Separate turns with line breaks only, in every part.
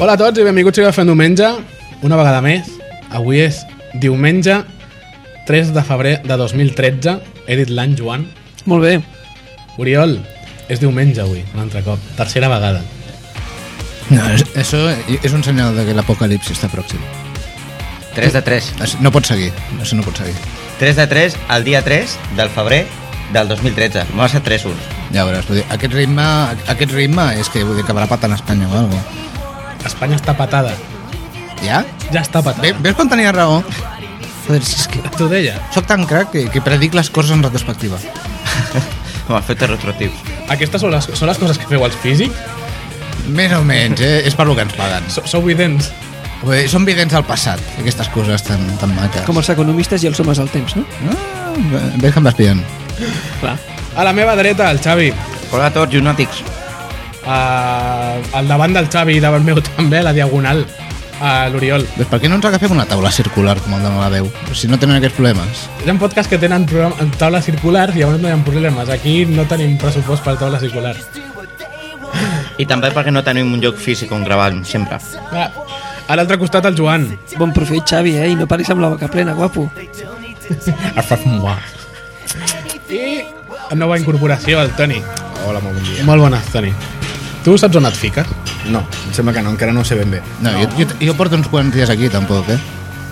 Hola a tots i benvinguts a Fent Diumenge, una vegada més. Avui és diumenge 3 de febrer de 2013. He dit l'any, Joan.
Molt bé.
Oriol, és diumenge avui, un altre cop. Tercera vegada.
No, es- eso es un señal de que el apocalipsis está próximo.
3 de 3.
Es- No pots seguir, eso no pots seguir.
3 de 3 el dia 3 del febrer del 2013. Vam ser 3 uns.
Ja veuràs, vull dir, aquest ritme, aquest ritme és que vull dir que haurà patant a Espanya o alguna cosa.
Espanya està patada.
Ja?
Ja està
Ve-
patada.
Veus quan tenia raó? Joder, si és que
T'ho deia.
soc tan crac que, que predic les coses en retrospectiva.
Com els fets retroactius.
Aquestes són les, són les coses que feu als físics?
Més o menys, eh? és per lo que ens paguen.
So, sou vidents?
Vull dir, Són vidents al passat, aquestes coses tan, tan maques.
Com els economistes i els homes del temps, no?
Ah, ve- veus que em vas pillant.
Clar.
A la meva dreta, el Xavi.
Hola a tots, llunàtics.
A, Ah, al davant del Xavi i davant meu també, a la diagonal. A l'Oriol.
Doncs per què no ens agafem una taula circular com el de Malaveu? Si no tenen aquests problemes.
Hi ha podcasts que tenen programa- taules circulars i llavors no hi ha problemes. Aquí no tenim pressupost per taula circular.
I també perquè no tenim un lloc físic on gravar sempre.
Ah, a l'altre costat el Joan.
Bon profit, Xavi, eh? I no paris amb la boca plena, guapo.
I nova incorporació, el Toni.
Hola, molt bon dia.
Molt bones, Toni. Tu saps on et fiques?
No, em sembla que no, encara no ho sé ben bé.
No, no. Jo, jo, jo porto uns quants dies aquí, tampoc, eh?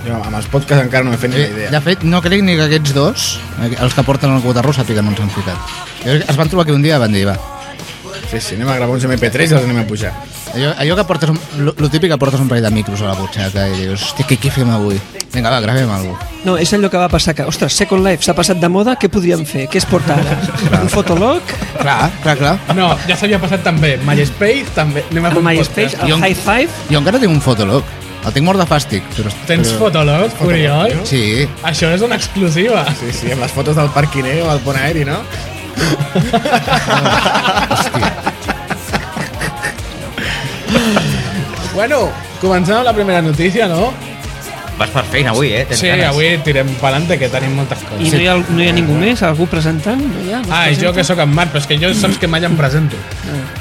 Jo amb els podcasts encara no m'he fet ni la
Eh,
idea.
De fet, no crec ni que aquests dos, eh, els que porten el cotarró, sàpiguen on s'han ficat. Jo crec que Es van trobar que un dia i van dir, va,
Sí, sí, anem a gravar uns MP3 i els anem a pujar.
allò, allò que portes, un- lo, lo típic que portes un parell de micros a la butxaca i dius, hòstia, què, què fem avui? Vinga, va, gravem alguna cosa.
No, és allò que va passar que, ostres, Second Life s'ha passat de moda, què podríem fer? Què es porta ara? Un fotolog?
Clar, clar, clar.
No, ja s'havia passat també. MySpace també. Anem a fer
El
un
MySpace?
podcast.
Jo-
El High Five?
Jo encara tinc un fotolog. El tinc mort de fàstic. Però,
Tens fotolog, Oriol?
Sí,
Això és una exclusiva.
Sí, sí, amb les fotos del parquiner o del Bonaeri, no?
Bueno, comencem amb la primera notícia, no?
Vas per feina avui, eh? Tens
Sí,
ganes.
avui tirem pelante que tenim moltes
I
coses.
no hi, ha, no hi ha ningú més? Algú presentant? No hi ha? No es
Ai, jo
presenta?
que sóc en Marc, però és que jo saps que mai em presento.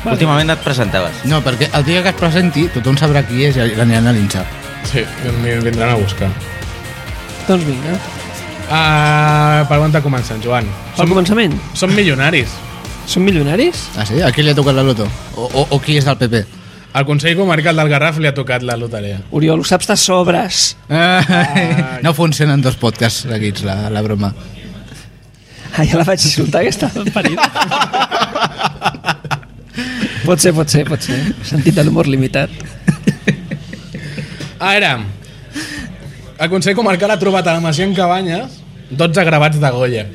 Últimament et presentaves.
no, perquè el dia que es presenti, tothom sabrà qui és i l'aniran a linxar.
Sí, em vindran a buscar.
Doncs vinga.
Uh, per on te comencen, Joan?
Al
Som,
començament,
som milionaris.
són milionaris?
Ah, sí? A qui li ha tocat la loto? O, o, o qui és del PP?
Al Consell Comarcal del Garraf li ha tocat la loteria.
Oriol, ho saps de sobres.
Ah, no funcionen dos podcasts seguits, la, la broma.
Ah, ja la vaig insultar, aquesta parida. pot ser, pot ser, pot ser. Sentit de l'humor limitat.
Ara, el Consell Comarcal ha trobat a la Masia en Cabanyes 12 gravats de Goya.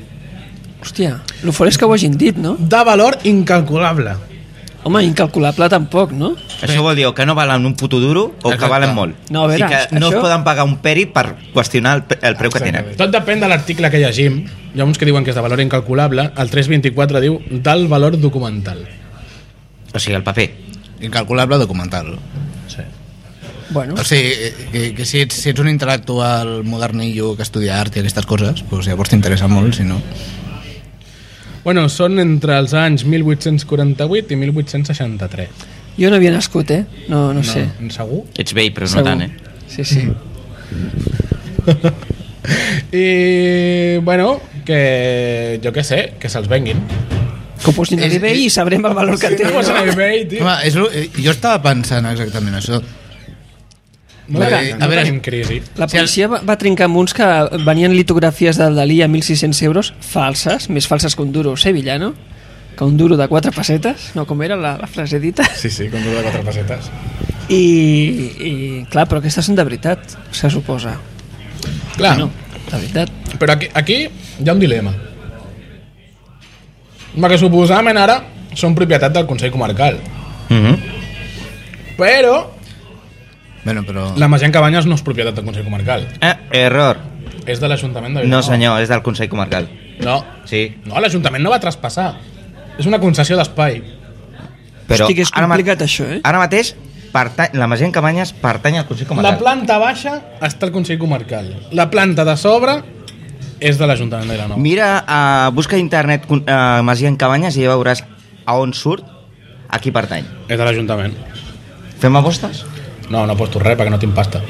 Hòstia, lo fort és que ho hagin dit, no?
De valor incalculable.
Home, incalculable tampoc, no?
Això vol dir o que no valen un puto duro o que
Exacte.
valen molt.
No, a veure,
I que no
això-
es poden pagar un peri per qüestionar el, pre- el preu que tenen.
Tot depèn de l'article que llegim. Hi ha uns que diuen que és de valor incalculable, el 324 diu del valor documental.
O sigui, el paper.
Incalculable documental.
Sí.
Bueno,
O sigui, que, que si, ets, si ets un intel·lectual modernillo que estudia art i aquestes coses, doncs llavors t'interessa molt, si no...
Bueno, són entre els anys 1848 i 1863.
jo no havia nascut, eh? No, no, sé.
Segur?
Ets vell, però no
Segur.
tant, eh?
Sí, sí.
I, bueno, que jo què sé, que se'ls venguin.
Que ho posin a
És-
l'eBay i sabrem el valor que té.
Que posen a
No?
eBay, tio.
Home, és lo, eh, jo estava pensant exactament això.
No,
Clar,
tenim- no
a veure-
tenim crisi.
La policia va, va trincar amb uns que venien litografies del Dalí a 1.600 euros, falses, més falses que un duro sevillano, que un duro de quatre pessetes, no com era la, la frase dita.
Sí, sí, com de quatre pessetes.
I, I, clar, però aquestes són de veritat, se suposa.
Ah.
Clar,
No, de veritat.
però aquí, aquí hi ha un dilema. Home, que suposament ara són propietat del Consell Comarcal.
Mhm.
Però
Bueno, però...
la Masia en Cabanyes no és propietat del Consell Comarcal.
Eh, error.
És de l'Ajuntament de
No, senyor, és del Consell Comarcal.
No,
Sí,
no l'Ajuntament no va traspassar. És una concessió d'espai.
Però
Hosti, que és
ara ma-
complicat, això, eh?
Ara mateix, pertany, la Masia en Cabanyes pertany al Consell
La
Comarcal.
planta baixa està al Consell Comarcal. La planta de sobre és de l'Ajuntament de Vilanova.
Mira, uh, busca a internet uh, Masia en Cabanyes i ja veuràs a on surt, a qui pertany.
És de l'Ajuntament.
Fem apostes?
No, no poso res perquè no tinc pasta.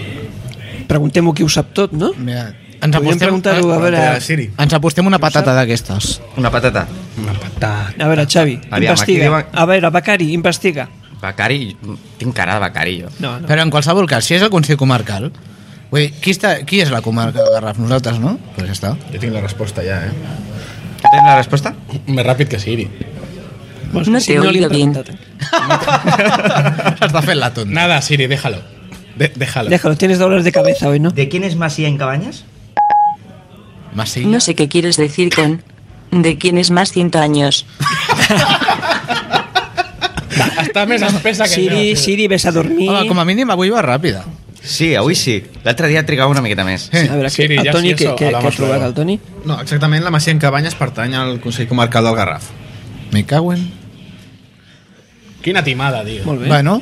Preguntem-ho qui ho sap tot, no?
Mira, ens
Podríem
apostem,
preguntar-ho a veure...
Pregunta a Siri.
ens apostem una patata d'aquestes.
Una patata.
Una patata.
A veure, Xavi,
Aviam, aquí
investiga.
diuen-
A veure, Becari, investiga.
Becari, tinc cara de becari, jo.
Ah, No, no.
Però en qualsevol cas, si és el Consell Comarcal, vull dir, qui, està, qui és la comarca del Garraf? Nosaltres, no? Però ja està.
Jo tinc la resposta ja, eh?
Tens la resposta?
Més ràpid que Siri.
Bueno,
No
és que
té
no li
oído
hem preguntat.
Està fent la tonta.
Nada, Siri, déjalo. De déjalo.
Déjalo, tienes dólares de cabeza hoy, ¿no?
¿De quién es Masía en Cabañas?
Masilla.
No sé qué quieres decir con... ¿De quién es más 100 años?
Està més espessa que
Siri,
jo.
Siri, ves a dormir.
Home, com a mínim avui va ràpida.
Sí, avui sí. L'altre dia trigava una miqueta més.
Sí.
A veure,
Siri,
Siri, el
ja
Toni,
sí,
què
això,
què-
a la
què ha
nostra
trobat
hora.
el Toni?
No, exactament, la Masia en Cabanyes pertany al Consell Comarcal del Garraf.
Me cago en...
Quina timada, tio.
Molt bé.
Bueno,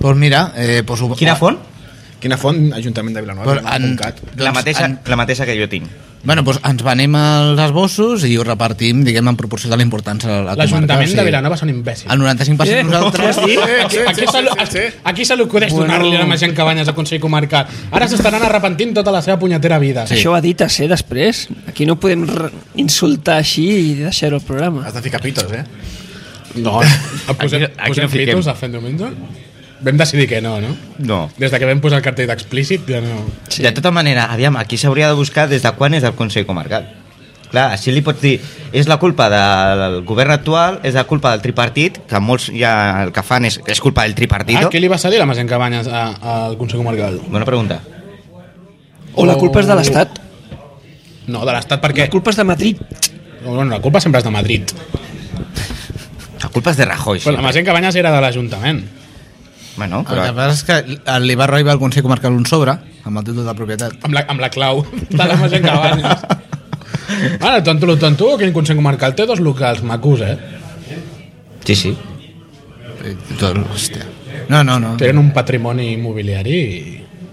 doncs mira... Eh, pues, ho-
Quina font?
Quina font? Ajuntament de Vilanova.
Però
Però,
en,
Doncs
La mateixa,
En,
la mateixa que jo tinc.
doncs bueno, doncs ens venem als esbossos i ho repartim, diguem, en proporció de la importància de la comarca.
L'Ajuntament
o sigui,
de Vilanova són imbècils.
Ah,
El 95%
Eh,
nosaltres...
sí,
Aquí, aquí se lo- aquí se l'ocudeix
Bueno.
donar-li a la gent Cabanyes al Consell Comarcal. Ara s'estaran arrepentint tota la seva punyetera vida.
Sí.
Això ho ha dit, eh, després. Aquí no podem re- insultar així i deixar el programa.
Has de ficar pitos, eh?
No, posem,
Aquí-
posem
aquí no fiquem.
fitos a fent diumenge? Vam decidir que no, no?
No.
Des de que vam posar el cartell d'explícit, ja no...
Sí. De tota manera, aviam, aquí s'hauria de buscar des de quan és el Consell Comarcal. Clar, així li pots dir, és la culpa del govern actual, és la culpa del tripartit, que molts ja el que fan és, és culpa del tripartito.
Ah, què li vas a dir a la gent Cabanyes a- al Consell Comarcal?
Bona pregunta.
O la culpa és de l'Estat.
No, de l'Estat, perquè...
La culpa és de Madrid.
No, no, la culpa sempre és de Madrid.
La culpa és de Rajoy.
Però la
sempre.
Magent Cabanyes era de l'Ajuntament.
Bueno,
El
però...
que passa és que li va arribar al Consell Comarcal un sobre, amb el títol de propietat.
Amb la, amb la clau de la Magent Cabanyes. Ara, tonto, lo tonto, quin Consell Comarcal té dos locals macos, eh?
Sí, sí.
I Eh, Tot, hòstia. No, no,
Ah.
no.
Tenen un patrimoni immobiliari i...
Eh?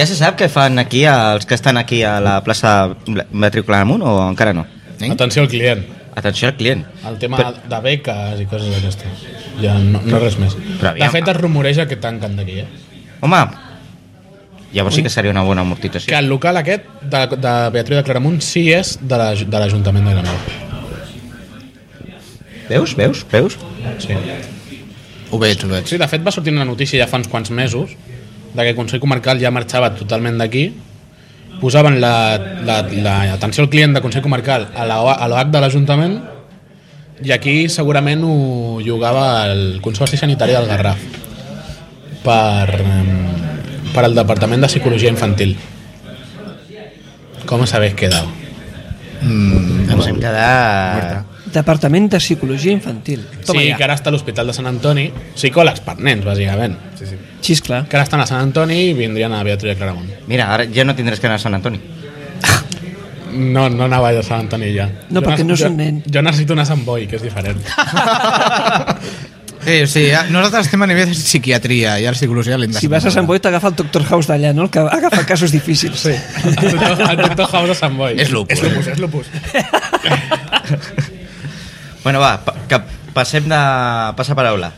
Ja se sap què fan aquí els que estan aquí a la plaça Matrícula Amunt o encara no?
Eh?
Atenció al client.
Atenció al client.
El tema de beques i coses d'aquestes. Ja no, no res més. De
Però aviam.
fet, es rumoreja que tanquen d'aquí, eh?
Home, llavors sí que seria una bona amortització.
Que el local aquest de, de Beatriu de Claramunt sí és de la- de l'Ajuntament de Granada.
Veus, veus, veus?
Sí.
Ho veig, ho veig.
sí, de fet va sortir una notícia ja fa uns quants mesos de que el Consell Comarcal ja marxava totalment d'aquí posaven l'atenció la, la, la, atenció al client de Consell Comarcal a la O- a l'OH de l'Ajuntament i aquí segurament ho jugava el Consorci Sanitari del Garraf per, em, per al Departament de Psicologia Infantil com sabés quedado
Ens hem quedat...
Departament de Psicologia Infantil. Toma
sí,
ja.
que ara està a l'Hospital de Sant Antoni psicòlegs per nens, bàsicament
Sí, sí.
Sí, esclar.
que ara estan a Sant Antoni i vindrien a Beatriu de Claramunt
Mira, ara ja no tindràs que anar a Sant Antoni.
No, no anava a Sant Antoni ja.
No,
Jo
perquè
nec-
no és
jo-
un nen. Ah,
Jo necessito anar a Sant Boi, que és diferent.
Sí, sí, ja- nosaltres estem a nivell de psiquiatria i ara psicologia l'hem de
Si vas a Sant Boi t'agafa el Doctor House d'allà, no? El que agafa casos difícils. Sí.
El doctor- el doctor House a Sant Boi.
És lupus.
És lupus, és lupus.
Bueno, va, pa- que passem de... Passa paraula.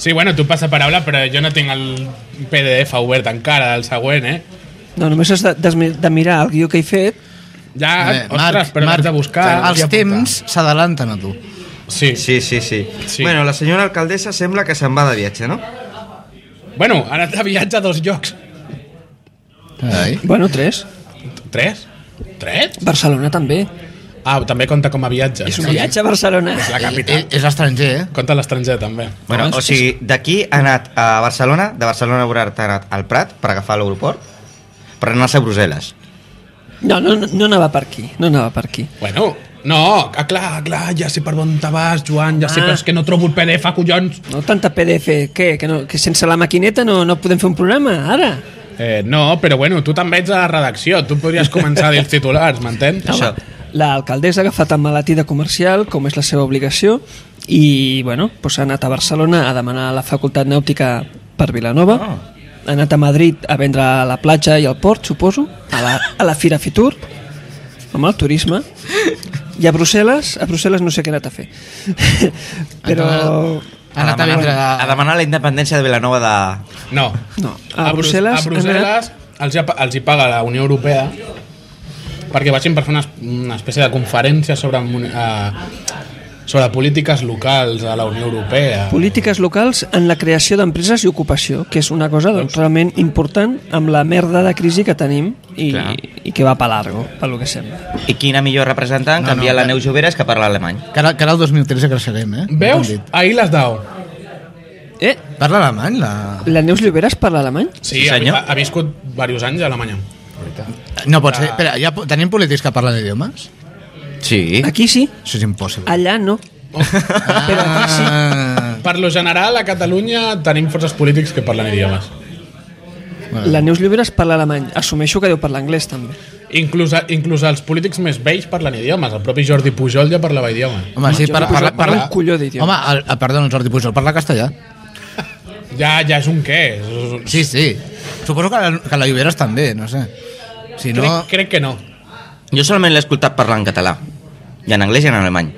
Sí, bueno, tu passa paraula, però jo no tinc el PDF obert encara, el següent, eh?
No, només has de, de, de mirar el guió que he fet.
Ja, Ah,
Eh,
ostres, però m'has de buscar.
Els temps s'adalanten a tu.
Sí. sí.
Sí, sí, sí,
Sí.
Bueno, la senyora alcaldessa sembla que se'n va de viatge, no?
Bueno, ara de viatge a dos llocs.
Ai.
Bueno, tres.
Tres? Tres?
Barcelona també.
Ah, també compta com a viatge.
És un viatge a Barcelona.
La capital.
Ell- ell És l'estranger, eh?
Compta a l'estranger, també.
Bueno,
Home,
o
és-
sigui, d'aquí ha anat a Barcelona, de Barcelona a Borat ha anat al Prat per agafar l'aeroport, per anar-se a Brussel·les.
No, no, no, no anava per aquí. No anava per aquí.
Bueno, no, ah, clar, clar, ja sé per on te vas, Joan, ja sé,
Ah.
però és que no trobo el PDF, collons.
No tanta PDF. Què? Que, no, que sense la maquineta no, no podem fer un programa, ara?
Eh, no, però bueno, tu també ets a la redacció, tu podries començar a dir els titulars, m'entens?
Això.
L'alcaldessa ha agafat amb malaltia de comercial, com és la seva obligació, i bueno, doncs ha anat a Barcelona a demanar a la Facultat Nàutica per Vilanova, ha anat a Madrid a vendre a la platja i al port, suposo, a la, a la Fira Fitur, amb el turisme, i a Brussel·les, a Brussel·les no sé què ha anat a fer. Però...
Ah,
Ha anat a
demanar-
vendre-
a demanar la independència de Vilanova de...
No.
No. A Brussel·les
Brus- A Brussel·les els, hi ha- els hi paga la Unió Europea perquè vagin per fer una, una espècie de conferència sobre, mun- eh, sobre polítiques locals a la Unió Europea.
Polítiques locals en la creació d'empreses i ocupació, que és una cosa doncs, realment important amb la merda de crisi que tenim i,
Clar.
i que va pa largo, pel que sembla.
I quina millor representant que
no, eh.
enviar la
que-
Neus Lloberes que parla alemany.
Que ara, que ara el 2013 creixerem, eh?
Veus? Ahir les dau.
Eh,
Parla alemany, la...
la Neus Lloberes parla alemany?
Sí,
Sí,
ha,
senyor.
ha, ha viscut diversos anys a Alemanya.
No pot
Ah.
ser. Espera, ja po- tenim polítics que parlen idiomes?
Sí. Oh.
Aquí sí,
Això és impossible.
allà no. Ah, Però aquí sí.
Ah,
Per lo general, a Catalunya tenim forces polítics que parlen idiomes.
La Neus Lloberes parla alemany. Assumeixo que deu parlar anglès, també.
Inclús, inclús els polítics més vells parlen idiomes. El propi Jordi Pujol ja parlava idioma.
Home, sí, parla, parla,
Parla
parla,
un colló d'idiomes.
Home, el, el, perdona, el Jordi Pujol, parla castellà.
Ja, ja és un què. És- és-
Sí, sí. Suposo que la, que la Lloberes també, no sé. Si no...
Crec, crec que no.
Jo solament l'he escoltat parlar en català. I en anglès i en alemany.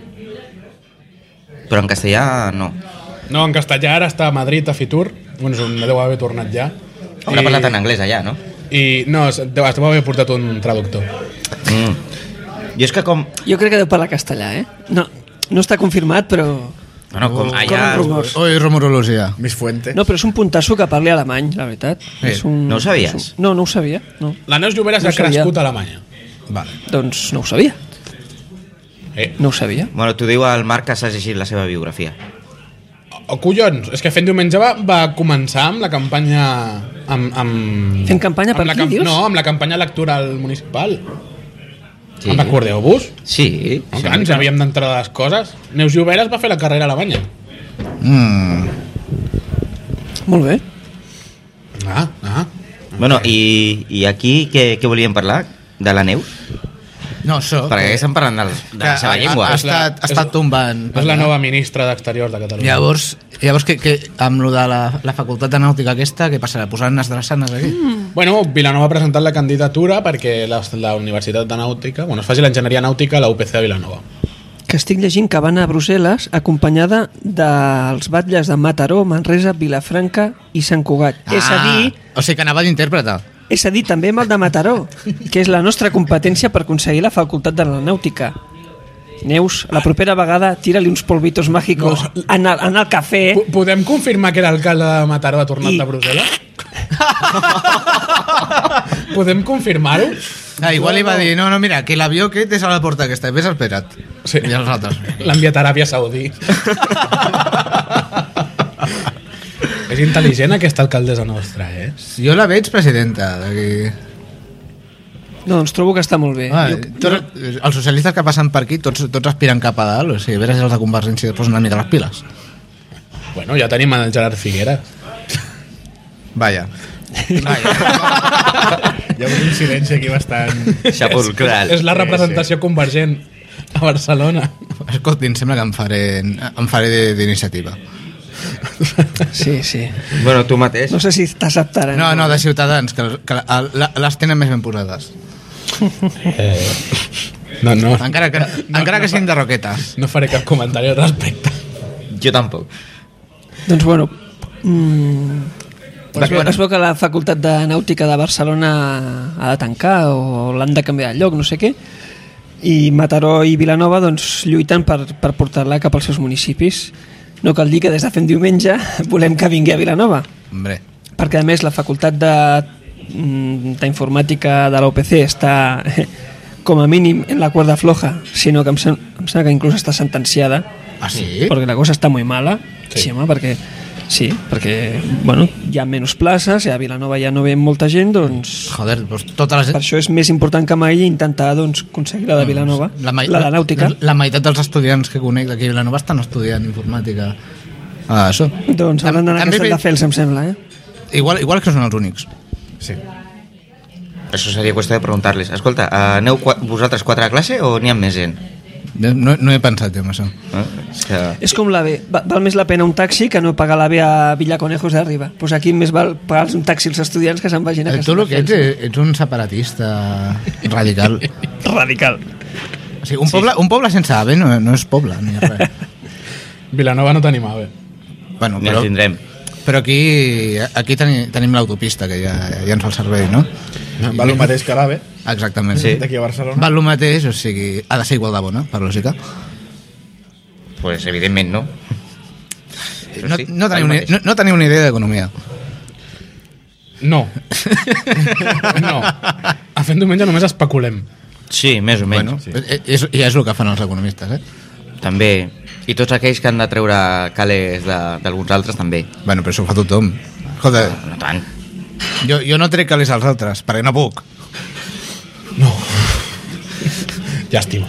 Però en castellà no.
No, en castellà ara està a Madrid, a Fitur. Bueno, és on deu haver tornat ja.
Haurà parlat en anglès allà, no?
I no, es deu, es deu haver portat un traductor.
Mm. Jo és que com...
Jo crec que deu parlar castellà, eh? No, no està confirmat, però...
Bueno, com
Corren
allà...
rumors.
Oi, rumorologia.
Mis fuentes.
No, però és un puntasso que parli alemany, la veritat.
Sí,
és un...
Eh, no ho sabies?
és un- No, no ho sabia. No.
La Neus Lloberes
No
ha
sabia.
crescut a Alemanya.
Vale.
Doncs no ho sabia.
Eh,
No ho sabia.
Bueno, t'ho diu el Marc que s'ha llegit la seva biografia.
oh, collons, és que fent diumenge va, va començar amb la campanya... Amb, amb,
Fent campanya per
amb la
aquí, dius?
No, amb la campanya electoral municipal. Sí. En recordeu-vos?
Sí.
No, clar, ens
eh?
havíem d'entrar de les coses. Neus Lloberes va fer la carrera a Alemanya.
Mm.
Molt bé.
Ah, ah.
Bueno, i, i aquí què, què volíem parlar? De la Neus?
No, això...
Perquè estem parlant del, de la seva
ha-
llengua.
Ha, ha, estat, ha estat tombant.
És la nova ministra d'Exteriors de Catalunya.
Llavors, llavors que, que amb lo de la, la facultat de nàutica aquesta, què passarà? Posaran les drassanes aquí? Mm.
Bueno, Vilanova ha presentat la candidatura perquè la, la Universitat de Nàutica, bueno, es faci l'enginyeria nàutica a la UPC de Vilanova.
Que estic llegint que van a Brussel·les acompanyada dels batlles de Mataró, Manresa, Vilafranca i Sant Cugat.
Ah.
És a dir,
O sigui que anava d'intèrprete.
és a dir, també amb el de Mataró, que és la nostra competència per aconseguir la facultat de la nàutica. Neus, la propera vegada tira-li uns polvitos màgicos en, el, en el cafè.
Po- Podem confirmar que l'alcalde de Mataró ha tornat
Eh. I-
I... de Brussel·les? Podem confirmar-ho?
Ah, igual li va dir, no, no, mira, que l'avió aquest és a la porta aquesta, vés espera't.
Sí.
I els altres.
L'ha enviat a Aràbia Saudí. És intel·ligent aquesta alcaldessa nostra, eh?
Jo la veig presidenta d'aquí.
No, doncs trobo que està molt bé.
Ah,
Jo-
tots, els socialistes que passen per aquí tots, tots aspiren cap a dalt, o sigui, a veure si els de Convergència es posen una mica les piles.
Bueno, ja tenim el Gerard Figueres.
Vaja.
Hi ha hagut un silenci aquí bastant...
Sepulcral.
És la representació convergent a Barcelona.
Escoltin, sembla que em faré, em faré de- d'iniciativa.
Sí, sí.
Bueno, tu mateix.
No sé si t'acceptaran.
No, no, de Ciutadans, que, que el- la- les tenen més ben posades.
Eh... No, no.
Encara que, encara que siguin de roquetes.
No faré cap comentari al respecte.
Jo tampoc.
Doncs bueno... Mm, es, veu, es veu que la facultat de nàutica de Barcelona ha de tancar o l'han de canviar de lloc, no sé què i Mataró i Vilanova doncs, lluiten per, per portar-la cap als seus municipis no cal dir que des de fem diumenge volem que vingui a Vilanova
Hombre.
perquè a més la facultat de- mm, d'informàtica de la UPC està com a mínim en la cuerda floja sinó que em, sem em sembla que inclús està sentenciada
Ah, sí?
porque la cosa está muy mala, sí. home, perquè sí, perquè bueno, hi ha menys places, i a Vilanova ja no ve molta gent, doncs
Joder, doncs tota la
per
gent...
això és més important que mai intentar doncs, aconseguir la de Vilanova, la,
Mm, mai-
la de Nàutica.
La, la meitat dels estudiants que conec d'aquí a Vilanova estan estudiant informàtica. Ah, això.
Doncs hauran d'anar a
També ve-
Castelldefels, em sembla, eh?
Igual, igual que són els únics.
Això seria qüestió de preguntar-les. Escolta, eh, aneu qua- vosaltres quatre a classe o n'hi ha més gent?
No, no he pensat jo en això.
Eh? És que...
És com la B, va- val més la pena un taxi que no pagar la B a Villaconejos d'arriba. Doncs pues aquí més val pagar un taxi als estudiants que se'n vagin a
Eh, tu el que ets,
Castelldefels.
eh, ets un separatista radical.
Radical.
O sigui, un, poble, un poble sense AVE no, no és poble, ni res.
Vilanova no t'animava.
Bueno,
Ni el
però,
tindrem.
però aquí, aquí tenim, tenim l'autopista, que ja, ja ens fa el servei, no?
Val el mateix que l'AVE,
Exactament.
Sí.
d'aquí a Barcelona.
Val el mateix, o sigui, ha de ser igual de bona, per lògica.
Pues evidentment no. Això
No,
sí,
no,
val
teniu, ni,
mateix.
no, no teniu ni idea d'economia.
No. no. A fent diumenge només especulem.
Sí, més o menys.
Bueno, sí. és, ja és el que fan els economistes, eh?
També. I tots aquells que han de treure calés de- d'alguns altres també.
Bueno, però això ho fa tothom. Escolta,
No tant.
jo, jo no trec calés als altres, perquè no puc.
Llàstima.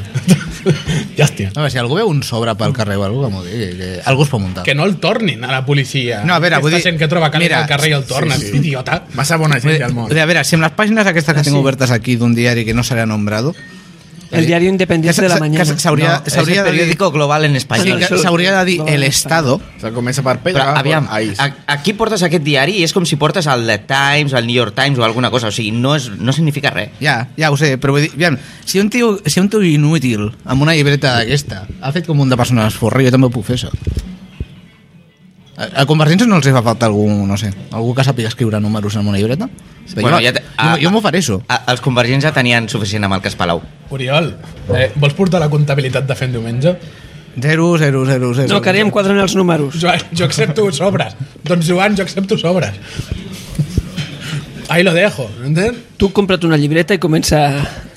Llàstima.
No, si algú veu un sobre pel carrer o algú, que m'ho digui, que algú es pot muntar.
Que no el tornin a la policia.
No, a veure, vull
Aquesta
dir-
gent que troba calés
Mira,
al carrer i el
sí,
torna. Sí,
sí.
sí. Idiota.
Massa bona gent al
O
món.
sigui, a veure, si amb les pàgines aquestes que tinc obertes aquí d'un diari que no serà nombrado...
El diario
eh? que
Independiente de la
s'ha- que
mañana.
S'hauria
no,
no,
és el
s'hauria de dir...
periódico global en
Sí, ah,
espanyol.
que s'hauria de dir El Estado.
O sea, comença per P i
Però,
acaba per
aviam,
Ais.
a, aquí portes aquest diari i és com si portes el The Times, el New York Times o alguna cosa. O sigui, no, és, no significa res.
Ja, ja ho sé, però vull dir, aviam, si un tio, si un tio inútil amb una llibreta d'aquesta ha fet com un de persones forri, jo també ho puc fer, això. A, a Convergència no els hi fa falta algú, no sé, algú que sàpiga escriure números en una llibreta? Bueno, jo ja
te-
jo, jo m'ho faré, això.
A, els convergents ja tenien suficient amb el cas Palau.
Oriol, eh, vols portar la comptabilitat de fent diumenge?
Zero, zero, zero, zero.
No, que ara ja em quadren els números.
Joan, jo accepto sobres. Doncs Joan, jo accepto sobres. Ahí lo dejo, ¿entens?
Tu compra't una llibreta i comença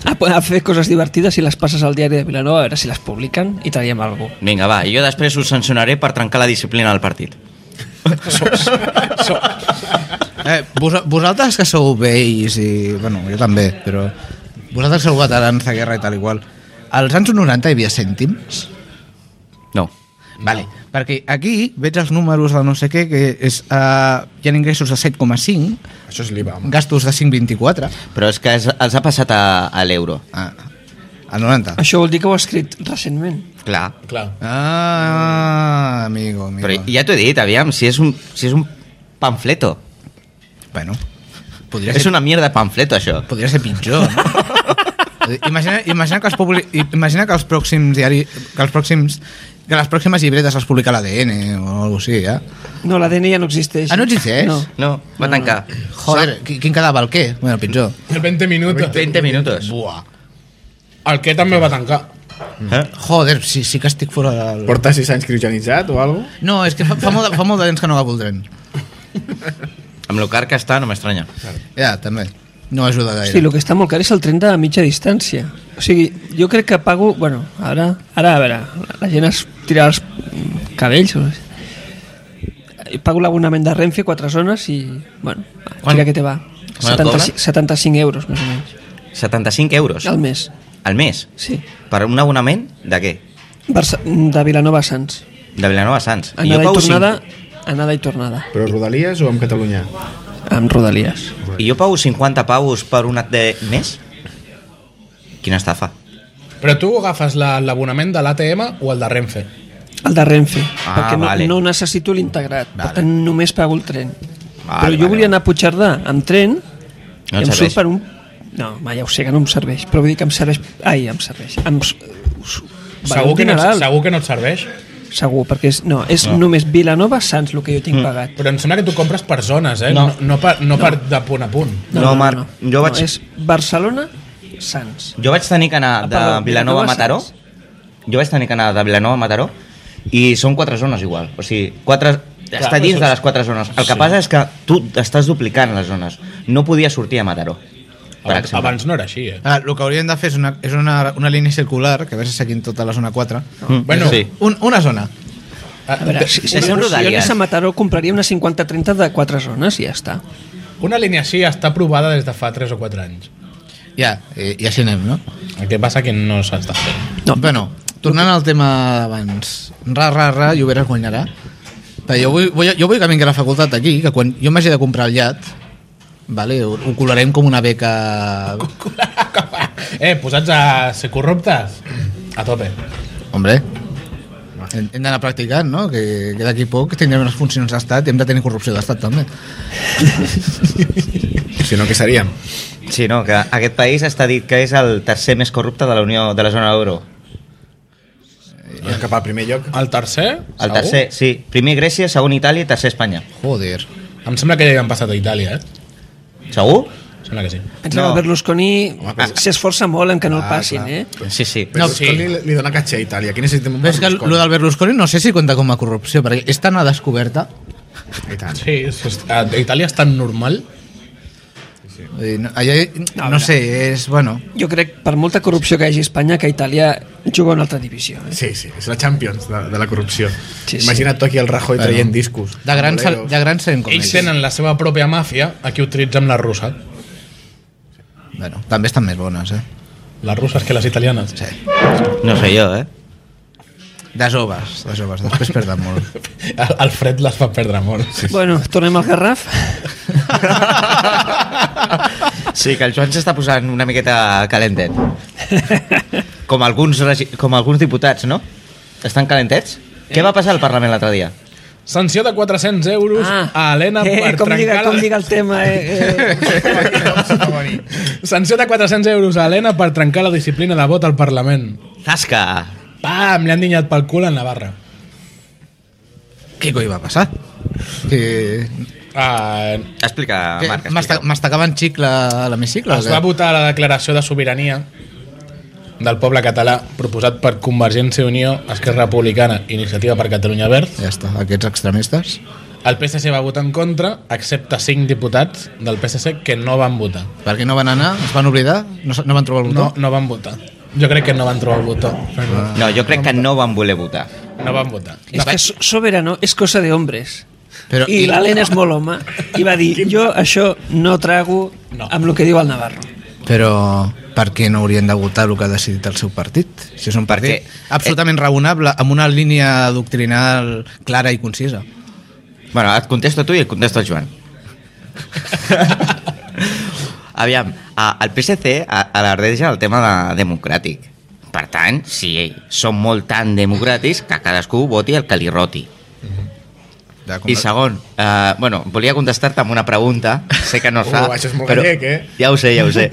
a, a fer coses divertides i les passes al diari de Vilanova a veure si les publiquen i traiem alguna cosa.
Vinga, va, jo després us sancionaré per trencar la disciplina del partit.
Eh, vos, vosaltres que sou vells i... Bueno, jo també, però... Vosaltres que sou veterans de guerra i tal i qual. Als anys 90 hi havia cèntims?
No.
Vale, perquè aquí veig els números de no sé què, que és, uh, hi ha ingressos de 7,5,
Això és l'IVA, home.
gastos de 5,24,
Però és que es, els ha passat a, a l'euro.
ah, a 90.
Això vol dir que ho he escrit recentment.
Clar.
Clar.
Ah, amigo, amigo.
Però ja t'ho he dit, aviam, si és un, si és un pamfleto.
Bueno, podria
És
ser,
una mierda pamfleto, això.
podria ser pitjor, no? Imagina, imagina, que els publi... imagina que els pròxims diari... que els pròxims que les pròximes llibretes les publica l'ADN o alguna cosa així, eh? ja.
No, l'ADN ja no existeix.
Ah, no existeix?
No.
No, va tancar.
Joder, qui- quin quedava el què? Bueno, pitjor.
El 20 minuts.
20 minuts.
Buah.
El que també va tancar.
Eh?
Joder, sí, sí que estic fora del...
Porta 6 anys cristianitzat o alguna
No, és que fa, fa, molt, de- fa molt de temps que no la voldrem.
Amb lo car que està, no m'estranya.
Ja, també. No ajuda gaire.
Sí, el que està molt car és el tren de mitja distància. O sigui, jo crec que pago... Bueno, ara, ara a veure, la gent es tira els mm, cabells... O... I Pago l'abonament de Renfe, quatre zones i... Bueno,
Quan-
mira que te va.
quan et
75, 75 euros, més o menys,
75 euros
al mes.
al mes.
Sí.
Per un abonament de què?
Barça, de Vilanova a Sants.
De Vilanova a Sants. I jo
Anada i
pago cinc-
tornada, anada i tornada,
Però Rodalies o amb Catalunya?
amb Rodalies.
I jo pago 50 paus per un de mes? Quina estafa.
Però tu agafes la- l'abonament de l'ATM o el de Renfe.
El de Renfe,
Ah,
perquè no,
vale.
no necessito l'integrat, per
Vale.
tant només pago el tren. Però jo
vale,
volia
vale.
anar a Puigcerdà amb tren,
No
i
et
em
serveix.
surt per un... No, home, ja ho sé que no em serveix, però vull dir que em serveix... Ai, em serveix. Em... s- us- val
Segur
un
que, no, et-
dineral.
segur que no et serveix.
Segur, perquè és, no, és no. només Vilanova-Sants el que jo
Mm.
tinc pagat.
Però em sembla que tu compres per zones, eh? No, no, no, per, no, per de punt a punt.
No, Marc, jo vaig-
No, és Barcelona-Sants.
Jo vaig tenir que anar
Ah,
de
perdó,
Vilanova
Vilanova
a Mataró.
Sants.
Jo vaig tenir que anar de Vilanova a Mataró i són quatre zones igual. O sigui, quatre, està dins de les quatre zones. El que passa és que tu estàs duplicant les zones. No podia sortir a Mataró. Per
Abans,
exemple.
abans no era així, eh?
Ah, el que haurien de fer és una, és una, una línia circular, que a veure si aquí en tota la zona 4.
Mm,
Bueno,
sí.
Un, una zona.
Ah,
A veure, si, si, si
són
jo
Rodalies.
anés a Mataró compraria una 50-30 de 4 zones i ja està.
Una línia així està aprovada des de fa 3 o 4 anys.
Ja, i, i així anem, no?
El que passa que no s'està fent.
No.
Bueno, tornant al tema d'abans. Ra, ra, ra, Lloberes guanyarà. Però jo vull, vull, jo vull que vingui a la facultat aquí, que quan jo m'hagi de comprar el llat, vale, ho, ho colarem com una beca...
Eh, posats a ser corruptes? A tope.
Hombre, hem, hem d'anar practicant, no? Que, que d'aquí a poc tindrem les funcions d'estat i hem de tenir corrupció d'estat, també.
Si no, què seríem?
Sí, no, que aquest país està dit que és el tercer més corrupte de la Unió de la zona euro.
Eh, Cap al primer lloc.
El tercer?
El
segur?
tercer, sí. Primer Grècia, segon Itàlia i tercer Espanya.
Joder.
Em sembla que ja hi han passat a Itàlia, eh?
Segur?
Em sembla que sí.
Pensa no.
No.
que Berlusconi
però-
s'esforça molt en que no el
Ah,
passin,
clar.
eh?
Sí, sí.
Però
No,
no,
sí.
sí. li, li dona caché a Itàlia. Aquí necessitem un
Però és que
Berlusconi.
lo del Berlusconi no sé si compta com a corrupció, perquè és tan a descoberta.
I tant.
Sí, és, és, a Itàlia és tan normal.
Vull dir, Eh, No, allà, no, no sé, és... Bueno,
Jo crec, per molta corrupció que hi hagi a Espanya, que Itàlia juga a una altra divisió. Eh?
Sí, sí, és la Champions de, de la corrupció.
Sí,
Sí,
sí.
sí. Imagina't tu aquí el Rajoy
Bueno.
traient discos.
de gran, ser- de gran serem com
Ells tenen la seva pròpia màfia, aquí utilitzem la russa.
Bueno, també estan més bones, eh?
Les russes que les italianes. Sí.
No sé jo, eh?
De joves, de joves. Després perden molt.
El, el fred les fa perdre molt. Sí.
Bueno, tornem al Garraf.
Sí, que el Joan s'està posant una miqueta calentet. Com alguns, regi- com alguns diputats, no? Estan calentets? Què va passar al Parlament l'altre dia?
Sanció de 400 euros ah. a Helena
eh,
per
com lliga,
trencar...
com lliga el tema, eh? eh.
Sanció de 400 euros a Helena per trencar la disciplina de vot al Parlament.
Tasca!
Pam! Li han dinyat pel cul a Navarra.
Què coi va passar? Que...
Uh,
Explica,
que
Marc.
m'esta-
Explica.
M'estacaven xicle a l'hemicicle? o
es
què?
va votar la declaració de sobirania del poble català proposat per Convergència i Unió, Esquerra Republicana i Iniciativa per Catalunya Verd.
Ja està, aquests extremistes.
El PSC va votar en contra, excepte 5 diputats del PSC que no van votar.
Per què no van anar? Es van oblidar? No, s- no van trobar el botó?
No, no van votar. Jo crec que no van trobar el botó.
No, jo crec que no van voler votar.
No van votar.
és que so- soberano és cosa de hombres.
Però,
I l'Helena és molt home. I va dir, jo això no trago
No.
amb el que diu el Navarro.
Però per què no haurien de votar el que ha decidit el seu partit? Si és un partit
Perquè-
eh,
absolutament raonable, amb una línia doctrinal clara i concisa.
Bueno, et contesto a tu i et contesto al Joan. Aviam, a- el PSC a- alardeja el tema de democràtic. Per tant, si són molt tan democràtics que cadascú voti el que li roti.
Mm-hmm.
Ja, com
I segon, eh, bueno, volia contestar-te amb una pregunta, sé que no es
Uh,
fa...
això és molt
però
gallec, eh?
Ja ho sé, ja ho sé.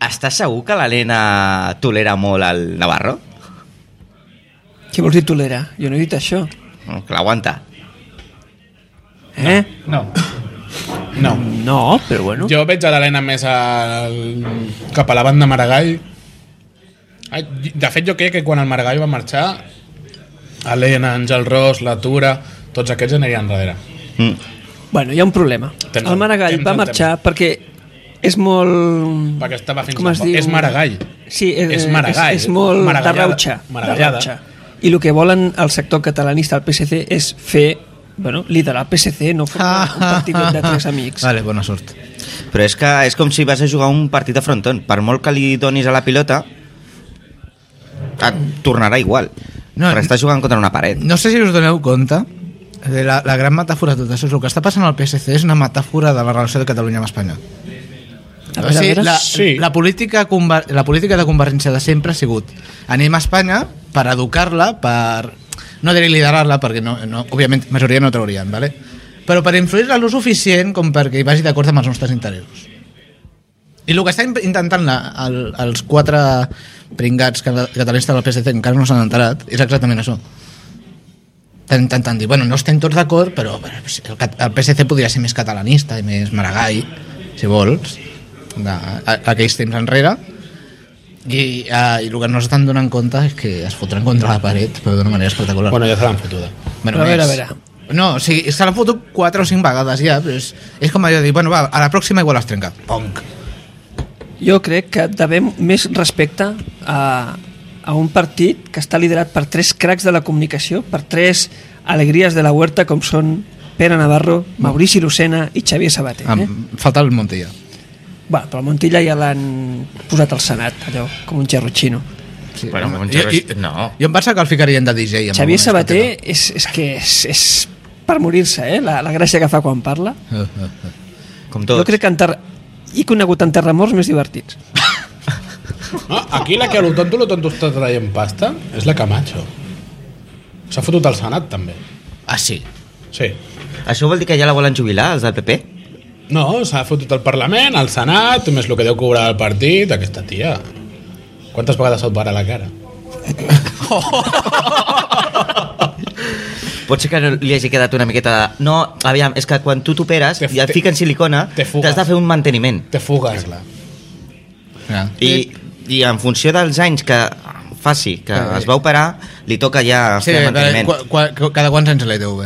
Estàs segur que l'Helena tolera molt el Navarro?
Què vols dir tolera? Jo no he dit això.
Mm, Que l'aguanta.
Eh?
No. No.
No, però bueno.
Jo veig a l'Helena més al... cap a la banda Maragall. Ai, De fet, jo crec que quan el Maragall va marxar, Helena, Àngel Ros, la Tura, tots aquests anirien darrere.
Mm.
Bueno, hi ha un problema.
Tens
el
el-
Maragall
tens
va
el
marxar perquè és molt...
Perquè estava fins
Com
a
es
poc.
diu?
És Maragall.
Sí, és,
És Maragall.
És, és molt
Maragallada.
tarrautxa.
Maragallada.
tarrautxa. I el que volen el sector catalanista, el PSC, és fer bueno, liderar el PSC, no formar un partit de tres amics.
Ah. Vale, bona sort.
Però és que és com si vas a jugar un partit de fronton. Per molt que li donis a la pilota, et tornarà igual.
No,
No, però estàs jugant contra una paret.
Eh, No sé si us doneu compte de la, la gran metàfora de tot això. El que està passant al PSC és una metàfora de la relació de Catalunya amb Espanya.
A veure, a veure.
la,
Sí.
la, política, conver- la política de convergència de sempre ha sigut anem a Espanya per educar-la, per no diré liderar-la, perquè no, no, òbviament majoria no traurien, ¿vale? però per influir-la lo suficient com perquè hi vagi d'acord amb els nostres interessos. I el que està in- intentant la, el, els quatre pringats cata- catalanistes del PSC que encara no s'han enterat és exactament això. Tant, tant, tant, dir, bueno, no estem tots d'acord, però bueno, si el, cat- el PSC podria ser més catalanista i més maragall, si vols, de, a, aquells temps enrere. I, uh, I el que no estan donant compte és que es fotran contra la paret, però d'una manera espectacular.
Bueno, ja se l'han fotuda.
eh.
Bueno,
Però a veure,
més.
a veure.
No, o sigui, se l'han fotut 4 o 5 vegades ja, però és, és com allò de dir, bueno, va, a la pròxima igual es trenca. Ponc.
Jo crec que devem més respecte a, a un partit que està liderat per tres cracs de la comunicació, per tres alegries de la huerta com són Pere Navarro, Maurici Lucena i Xavier Sabater. Eh?
Em- Falta el Montilla.
Va, però a Montilla ja l'han posat al Senat, allò, com un gerro xino.
Sí,
Bueno,
home,
Montilla
jo-
és-
jo-
no.
Jo em pensava que el ficarien de DJ. amb
Xavier
alguna
Sabater
discoteca.
és, és que és, és per morir-se, eh? La, la gràcia que fa quan parla.
Eh, eh, eh.
Com
Jo
tots.
crec que en ter... he conegut enterramors més divertits.
No, Ah, aquí la que a lo tonto, lo tonto està traient pasta és la Camacho. S'ha fotut al Senat, també.
Ah, sí.
Sí.
Això vol dir que ja la volen jubilar, els del PP?
No, s'ha fotut al Parlament, al Senat, més el que deu cobrar el partit, aquesta tia. Quantes vegades se't para la cara?
Potser que li hagi quedat una miqueta de... No, aviam, és que quan tu t'operes
Te-
i et
te-
fiquen silicona,
te fugues.
t'has de fer un manteniment.
Te fugues.
Ja.
I, I en funció dels anys que faci, que es va operar, li toca ja
Sí,
fer el
cada,
manteniment.
qua- qua- cada quants anys l'EDV?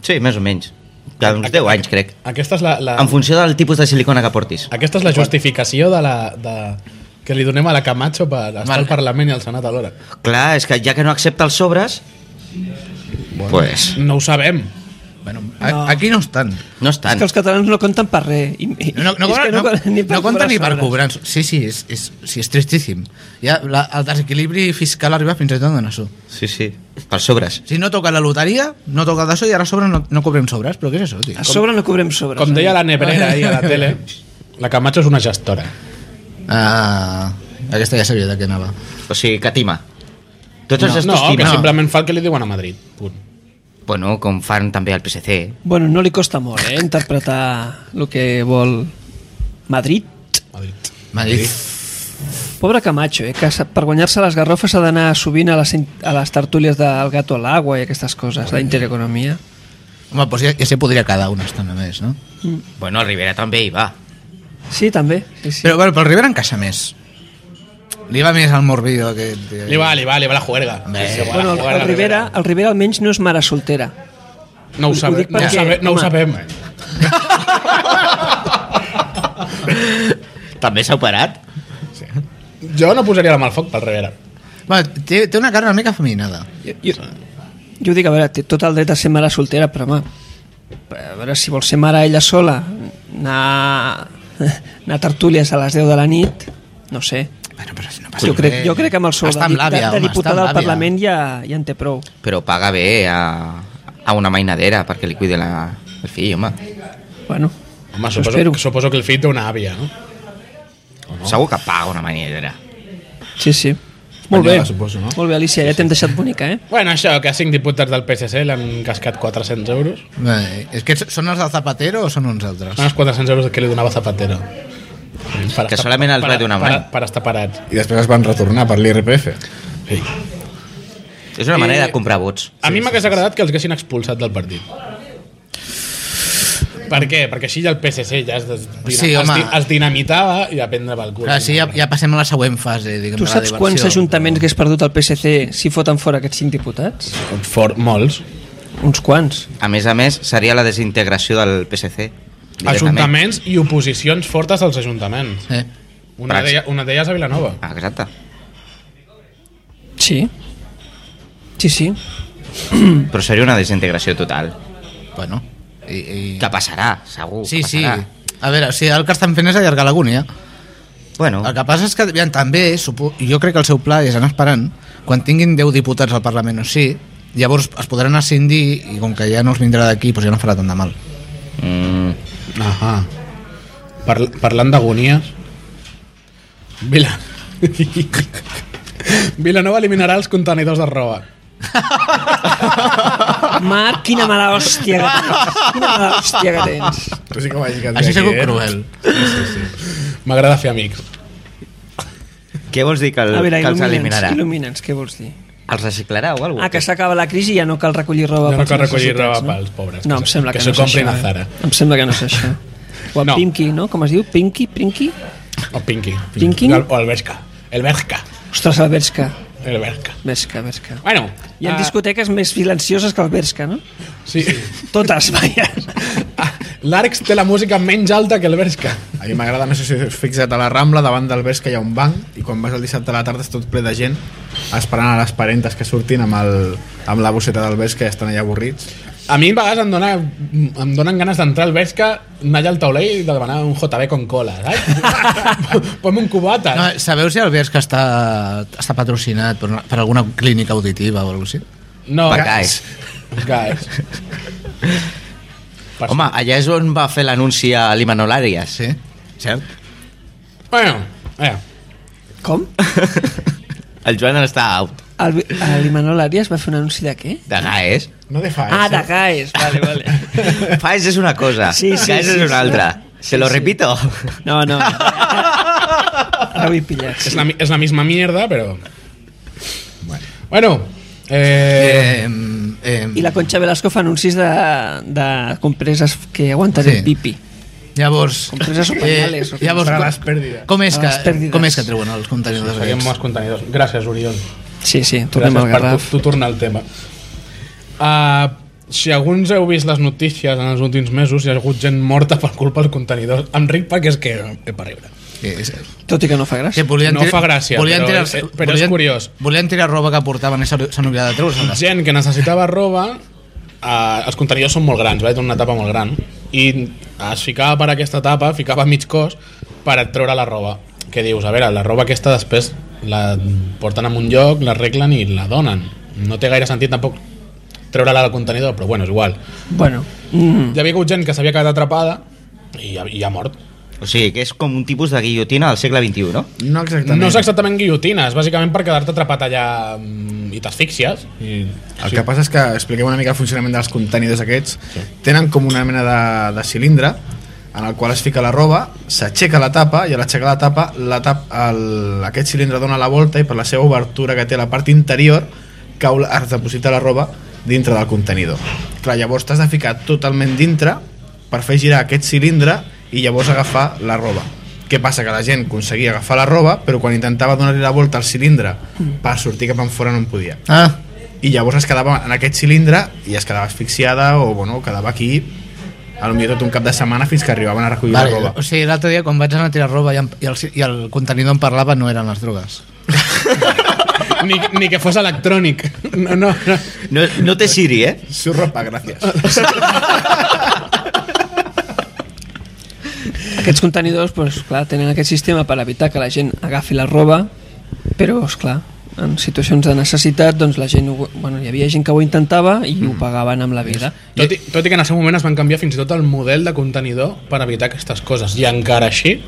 Sí, més o menys. Que uns 10 anys, crec.
Aquesta és la, la,
En funció del tipus de silicona que portis.
aquesta és la justificació de la, de, que li donem a la Camacho per estar
Vale.
al Parlament i al Senat alhora.
Clar, és que ja que no accepta els sobres, bueno. pues,
No ho sabem.
Bueno, no. aquí no estan.
no
És
estan.
que els catalans no compten per res. I, i,
No, no, no,
és que
cobra, no,
cobren
no, no compta ni per
sobres.
cobrar. Sí, sí, és, és, sí, és tristíssim. Ja, la, el desequilibri fiscal arriba fins i tot on això.
Sí, sí, per sobres.
Si no toca la loteria, no toca d'això i ara a sobre no, no cobrem sobres. Però què és això, tio?
A sobre no cobrem sobres.
Com
eh?
deia la Nebrera ahir a la tele, la Camacho és una gestora.
Ah, aquesta ja sabia de què anava.
O sigui, que tima. Tots els
No,
gestos
que
timen.
simplement fa el que li diuen a Madrid. Punt.
Bueno, com fan també al PSC.
Bueno, no li costa molt, eh, interpretar el que vol Madrid.
Madrid.
Madrid.
Pobre Camacho, eh, que s'ha- per guanyar-se les garrofes ha d'anar sovint a les, in- a les tertúlies del gato a l'aigua i aquestes coses, d'intereconomia.
Home, doncs ja, ja se podria quedar una estona més, no?
Bueno, Rivera també hi va.
Sí, també. Sí, sí.
Però, bueno, però el Rivera encaixa més. Li va més al morbido que...
Li va, li va, li va la juerga.
Bé.
Sí, sí, va la
bueno, el,
juerga,
el, Rivera, el Rivera almenys no és mare soltera.
No ho,
Ho
sabe,
dic
no, ho
perquè,
sabe, no ho
home.
sabem.
També s'ha operat?
Jo no posaria la mà al foc pel Rivera.
Va, té, té una cara una mica feminada.
Jo, jo, jo dic, a veure, té tot el dret a ser mare soltera, però home, a veure, si vol ser mare ella sola, anar, anar a tertúlies a les 10 de la nit, no sé.
Bueno, però si no passa
Jo crec,
res.
jo crec que amb el sou de,
Està amb
de, de,
l'àvia, home, està amb
diputada al
l'àvia.
Parlament ja, ja en té prou.
Però paga bé a, a una mainadera perquè li cuidi la, el fill, home.
Bueno,
Home,
Això
suposo,
espero.
suposo que el fill té una àvia, no?
No? Segur que paga una mainadera.
sí, sí. Molt bé,
Espanyola, suposo, no?
molt bé, Alicia, ja t'hem deixat bonica, eh?
Bueno, això, que a cinc diputats del PSC l'han cascat 400 euros.
Bé, és que són els del Zapatero o són uns altres?
Són
Ah.
els 400 euros que li donava Zapatero. Per
Que
estar-
solament els
per-
va donar un
per,
any.
per, estar parats.
I després es van retornar per l'IRPF.
Sí.
És una manera
Eh,
de comprar vots.
A mi m'hagués agradat que els haguessin expulsat del partit. Per què? Perquè així ja el PSC ja es, des- dina-
Sí,
es,
home.
di- es dinamitava i a prendre pel cul.
Clar, sí, ja, ja passem a la següent fase, diguem,
Tu
de la
saps
diversió.
quants ajuntaments hagués perdut el PSC si foten fora aquests cinc diputats?
For, molts.
Uns quants.
A més a més, seria la desintegració del PSC. directament.
Ajuntaments i oposicions fortes als ajuntaments.
Eh?
Una d'ella- una d'elles a Vilanova.
Ah, Exacte.
Sí. Sí, sí.
Però seria una desintegració total.
Bueno, i... i...
Que passarà, segur.
Sí,
que
sí.
passarà.
A veure, o sigui, el que estan fent és allargar l'agonia.
Bueno,
El que passa és que aviam, també, supo, jo crec que el seu pla és anar esperant, quan tinguin 10 diputats al Parlament o sí, llavors es podran ascendir i com que ja no els vindrà d'aquí, doncs ja no farà tant de mal.
mm,
Ahà. Parl parlant d'agonies... Vila... Vilanova eliminarà els contenidors de roba.
Marc, quina mala hòstia que tens. Quina mala hòstia que tens.
Tu sí que vaig quedar
Això és algo
eh?
cruel.
M'agrada fer amics.
què vols dir que, el,
A veure,
que els eliminarà?
il·lumina'ns, il·lumina'ns, què vols dir?
Els reciclarà o alguna
Ah, que s'acaba la crisi i ja no cal recollir roba
Ja no
pels
cal recollir
necessitats,
roba pels pobres,
No,
que
em
se-
sembla
que
que,
se
no és
comprin
això,
a Zara.
eh? Em sembla que no és això. O a
No.
Pinky, no? Com es diu? Pinky? Pinky?
O Pinky.
Pinky?
O el Bershka. El Bershka.
Ostres, el Bershka.
El Bershka.
Bershka, Bershka.
Bueno,
Hi ha
ah,
discoteques més silencioses que el Bershka, no?
Sí.
Totes, vaja.
Ah, L'Arcs té la música menys alta que el Bershka.
A mi m'agrada més si és fixat a la Rambla, davant del Bes que hi ha un banc, i quan vas el dissabte a la tarda és tot ple de gent esperant a les parentes que surtin amb, el, amb la bosseta del Bes que ja estan allà avorrits.
A mi a vegades em, dona, em donen ganes d'entrar al Bershka, anar allà al tauler i demanar un JB con cola, saps? Ponme un cubata.
No, sabeu si el Bers que està, està patrocinat per, una, per alguna clínica auditiva o alguna cosa així?
No,
Pacais.
Guys. Per
Home, allà és on va fer l'anunci a l'Imanol Arias.
Sí.
Cert?
Bueno, eh,
Com?
El Joan està out.
El, el Imanol Arias va fer un anunci de què?
De Gaes.
No de fa,
Ah, de Gaes, vale, vale.
Faes és una cosa,
Sí, sí,
Gaes
sí,
és una
sí.
altra. Se lo repito.
No, no. Ara ho he pillat.
és, la, mi- és la misma mierda, però... Bueno, eh,
Eh, eh,
I la Concha Velasco fa anuncis de, de compreses que aguanten
Sí.
el pipi.
Llavors, eh,
Compreses o pañales, o
llavors
Para
com-
les pèrdides.
com, és
Para les
que,
pèrdides.
com és que treuen els contenidors
seguim amb
aquests?
els contenidors. Gràcies, Oriol.
Sí, sí, tornem al
Gràcies per
Garraf.
tu, tu tornar al tema. Uh, si alguns heu vist les notícies en els últims mesos, hi ha hagut gent morta per culpa dels contenidors. Em ric perquè és que he per riure.
Sí, és-
Tot i que no fa
que
gràcia.
volien
No fa gràcia,
volien
però
tirar,
és- eh, però és
volien-
curiós.
Volien tirar roba que portaven i s'han s'han oblidat de treure-se-la.
Gent que necessitava roba, uh, els contenidors són molt grans, va? Tenen una tapa molt gran. I eh, es ficava per aquesta tapa, ficava mig cos per treure la roba. Què dius? A veure, la roba aquesta després la porten a un lloc, l'arreglen i la donen. No té gaire sentit tampoc treure-la del contenidor, però bueno, és igual.
Bueno, mm,
Hi havia hagut gent que s'havia quedat atrapada i, ha- i ha mort.
O sigui, que és com un tipus de guillotina del segle XXI, no?
No exactament.
No és exactament guillotina, és bàsicament per quedar-te atrapat allà mm, i t'asfixies. I...
El que passa és que expliquem una mica el funcionament dels contenidors aquests. Tenen com una mena de, de cilindre en el qual es fica la roba, s'aixeca la tapa i a l'aixecar la tapa, la tap, el, aquest cilindre dona la volta i per la seva obertura que té a la part interior cau, la- es deposita la roba dintre del contenidor. Clar, llavors t'has de ficar totalment dintre per fer girar aquest cilindre i llavors agafar la roba. Què passa? Que la gent aconseguia agafar la roba, però quan intentava donar-li la volta al cilindre per sortir cap enfora no en podia
Ah,
i llavors es quedava en aquest cilindre i es quedava asfixiada o bueno, quedava aquí a lo millor tot un cap de setmana fins que arribaven a recollir vale, la
vale, o
roba
sigui, l'altre dia quan vaig anar a tirar roba i, em- i, el, i el contenidor em parlava no eren les drogues.
Ni, ni que fos electrònic. No, no, no.
No, no té Siri, eh?
su ropa, gràcies
aquests contenidors, pues, clar, tenen aquest sistema per evitar que la gent agafi la roba, però, és clar, en situacions de necessitat, doncs la gent, ho, bueno, hi havia gent que ho intentava i
Mm.
ho pagaven amb la vida.
Tot, i, tot i que en el seu moment es van canviar fins i tot el model de contenidor per evitar aquestes coses. I encara així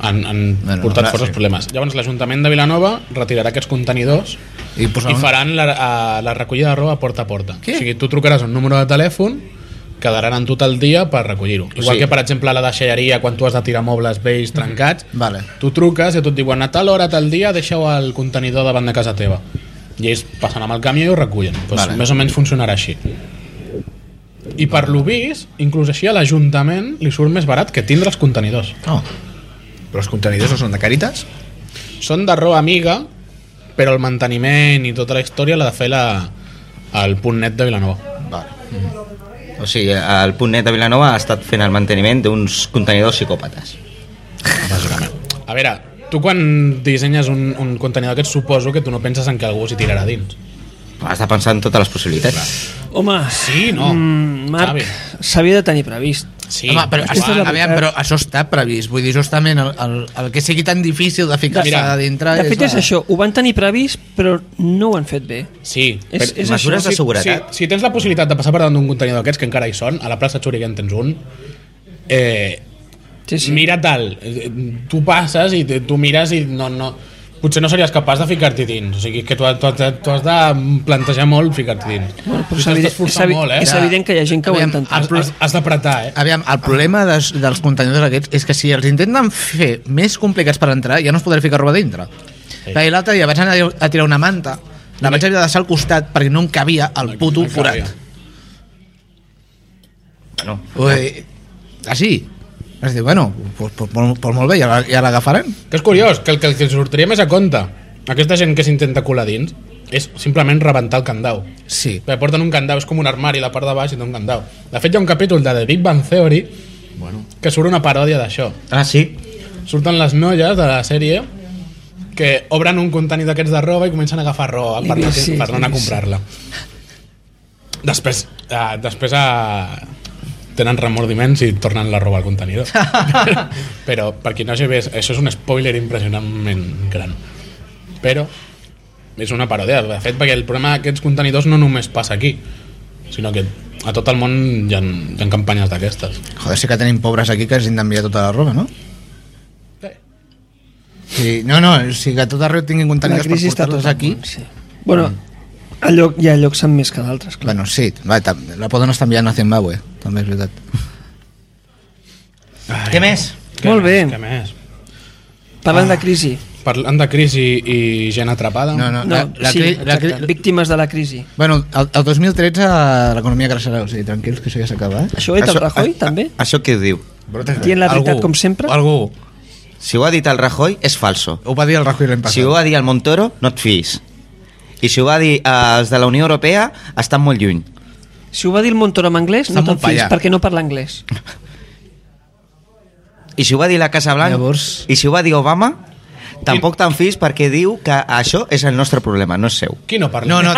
han, han
Bueno,
bueno, portat
ara
forces
sí.
problemes. Llavors l'Ajuntament de Vilanova retirarà aquests contenidors
I,
i
posaven,
faran la, a, la recollida de roba porta a porta.
Què?
O sigui, tu trucaràs un número de telèfon, quedaran en tot el dia per recollir-ho. Igual
sigui-
que, per exemple, a la deixalleria, quan tu has de tirar mobles vells trencats,
Mhm. Vale.
tu truques i a tu et diuen a tal hora, tal dia, deixeu el contenidor davant de casa teva. I ells passen amb el camió i ho recullen. Pues
Vale.
vale. Més o menys funcionarà així. I per lo vist, inclús així a l'Ajuntament li surt més barat que tindre els contenidors.
No,
però els contenidors no són de caritas?
Són de roba amiga, però el manteniment i tota la història l'ha de fer la, el punt net de Vilanova.
O sigui, el punt net de Vilanova ha estat fent el manteniment d'uns contenidors psicòpates.
A veure, tu quan dissenyes un, un contenidor d'aquests suposo que tu no penses en que algú s'hi tirarà dins.
Has de pensar en totes les possibilitats.
Home,
Sí, no.
mm, Marc,
Xavi.
s'havia de tenir previst.
Sí,
Home, però,
aquesta és
això,
la
aviam,
veritat.
però això està previst. Vull dir, justament el, el, el que sigui tan difícil de ficar-se
Mira,
a dintre...
De fet, és
la-
això, ho van tenir previst, però no ho han fet bé.
Sí,
És, és
mesures
això,
de
sí.
seguretat.
Si, si tens la possibilitat de passar per davant d'un contenidor d'aquests, que encara hi són, a la plaça Xuriguen tens un, eh,
Sí, sí.
mira tal, eh, tu passes i te- tu mires i no, no, potser no series capaç de ficar-t'hi dins, o sigui que tu, tu, tu has de plantejar molt ficar-t'hi dins.
Bueno, però
Tu
és,
t'has
evident, és,
d'esforçar
evi-
molt, eh?
és evident que hi ha gent que ho ha
Aviam,
intentat.
Has, has, has d'apretar, eh?
Aviam, el problema des, dels contenidors aquests és que si els intenten fer més complicats per entrar, ja no es podrà ficar roba dintre. Sí. L'altre dia vaig anar a tirar una manta, la vaig haver de deixar al costat perquè no em cabia el puto
Encara.
forat.
Bueno,
Ui, així. Es diu, bueno, pues, pues, pues, pues molt bé, ja la- ja l'agafarem.
Que és curiós, que el que, el que els sortiria més a compte, aquesta gent que s'intenta colar dins, és simplement rebentar el candau.
Sí.
Perquè porten un candau, és com un armari, la part de baix i té un candau. De fet, hi ha un capítol de The Big Bang Theory bueno. que surt una paròdia d'això.
ah, sí?
Surten les noies de la sèrie que obren un contenidor d'aquests de roba i comencen a agafar roba per, anar,
Sí, sí,
per anar a
sí.
comprar-la. Després, eh, després eh, tenen remordiments i tornen la roba al contenidor. Però, per qui no s'hi ve, això és un spoiler impressionantment gran. Però és una paròdia, de fet, perquè el problema d'aquests contenidors no només passa aquí, sinó que a tot el món hi ha, hi ha campanyes d'aquestes.
Joder, sí que tenim pobres aquí que ens han d'enviar tota la roba, no? Sí, no, no, o sigui que a tot arreu tinguin
La
contenidors per
crisi està tot
portar-los aquí. Mm.
Sí. Bueno, a lloc, hi ha llocs amb més que d'altres, clar.
Bueno, sí, va, tam- la poden estar enviant a Zimbabue, també és veritat.
Què més?
Què
Molt
més?
bé.
Què més?
Ah.
Parlant de crisi,
Parlant de crisi i gent atrapada...
No, no,
No,
la, la,
sí,
cri- la,
exacte,
cri-
víctimes de la crisi.
bueno, el, el 2013 l'economia creixerà, o sigui, tranquils, que això ja s'acaba. Eh?
Això ho ha dit el Rajoy,
a- a-
també?
Això què ho diu?
Brotes de-
Dient la veritat,
Algú-
com sempre.
Algú.
Si ho ha dit el Rajoy, és falso.
Ho va dir el Rajoy l'any passat.
Si ho va dir el Montoro, no et fiïs. I si ho va dir eh, els de la Unió Europea, estan molt lluny.
Si ho va dir el Montoro en anglès,
Està
no te'n
molt
fies,
pallà.
perquè no parla anglès.
I si ho va dir la Casa Blanca,
Llavors-
i si ho va dir Obama, tampoc te'n fiïs perquè diu que això és el nostre problema, no és seu.
Qui no parla?
No, no,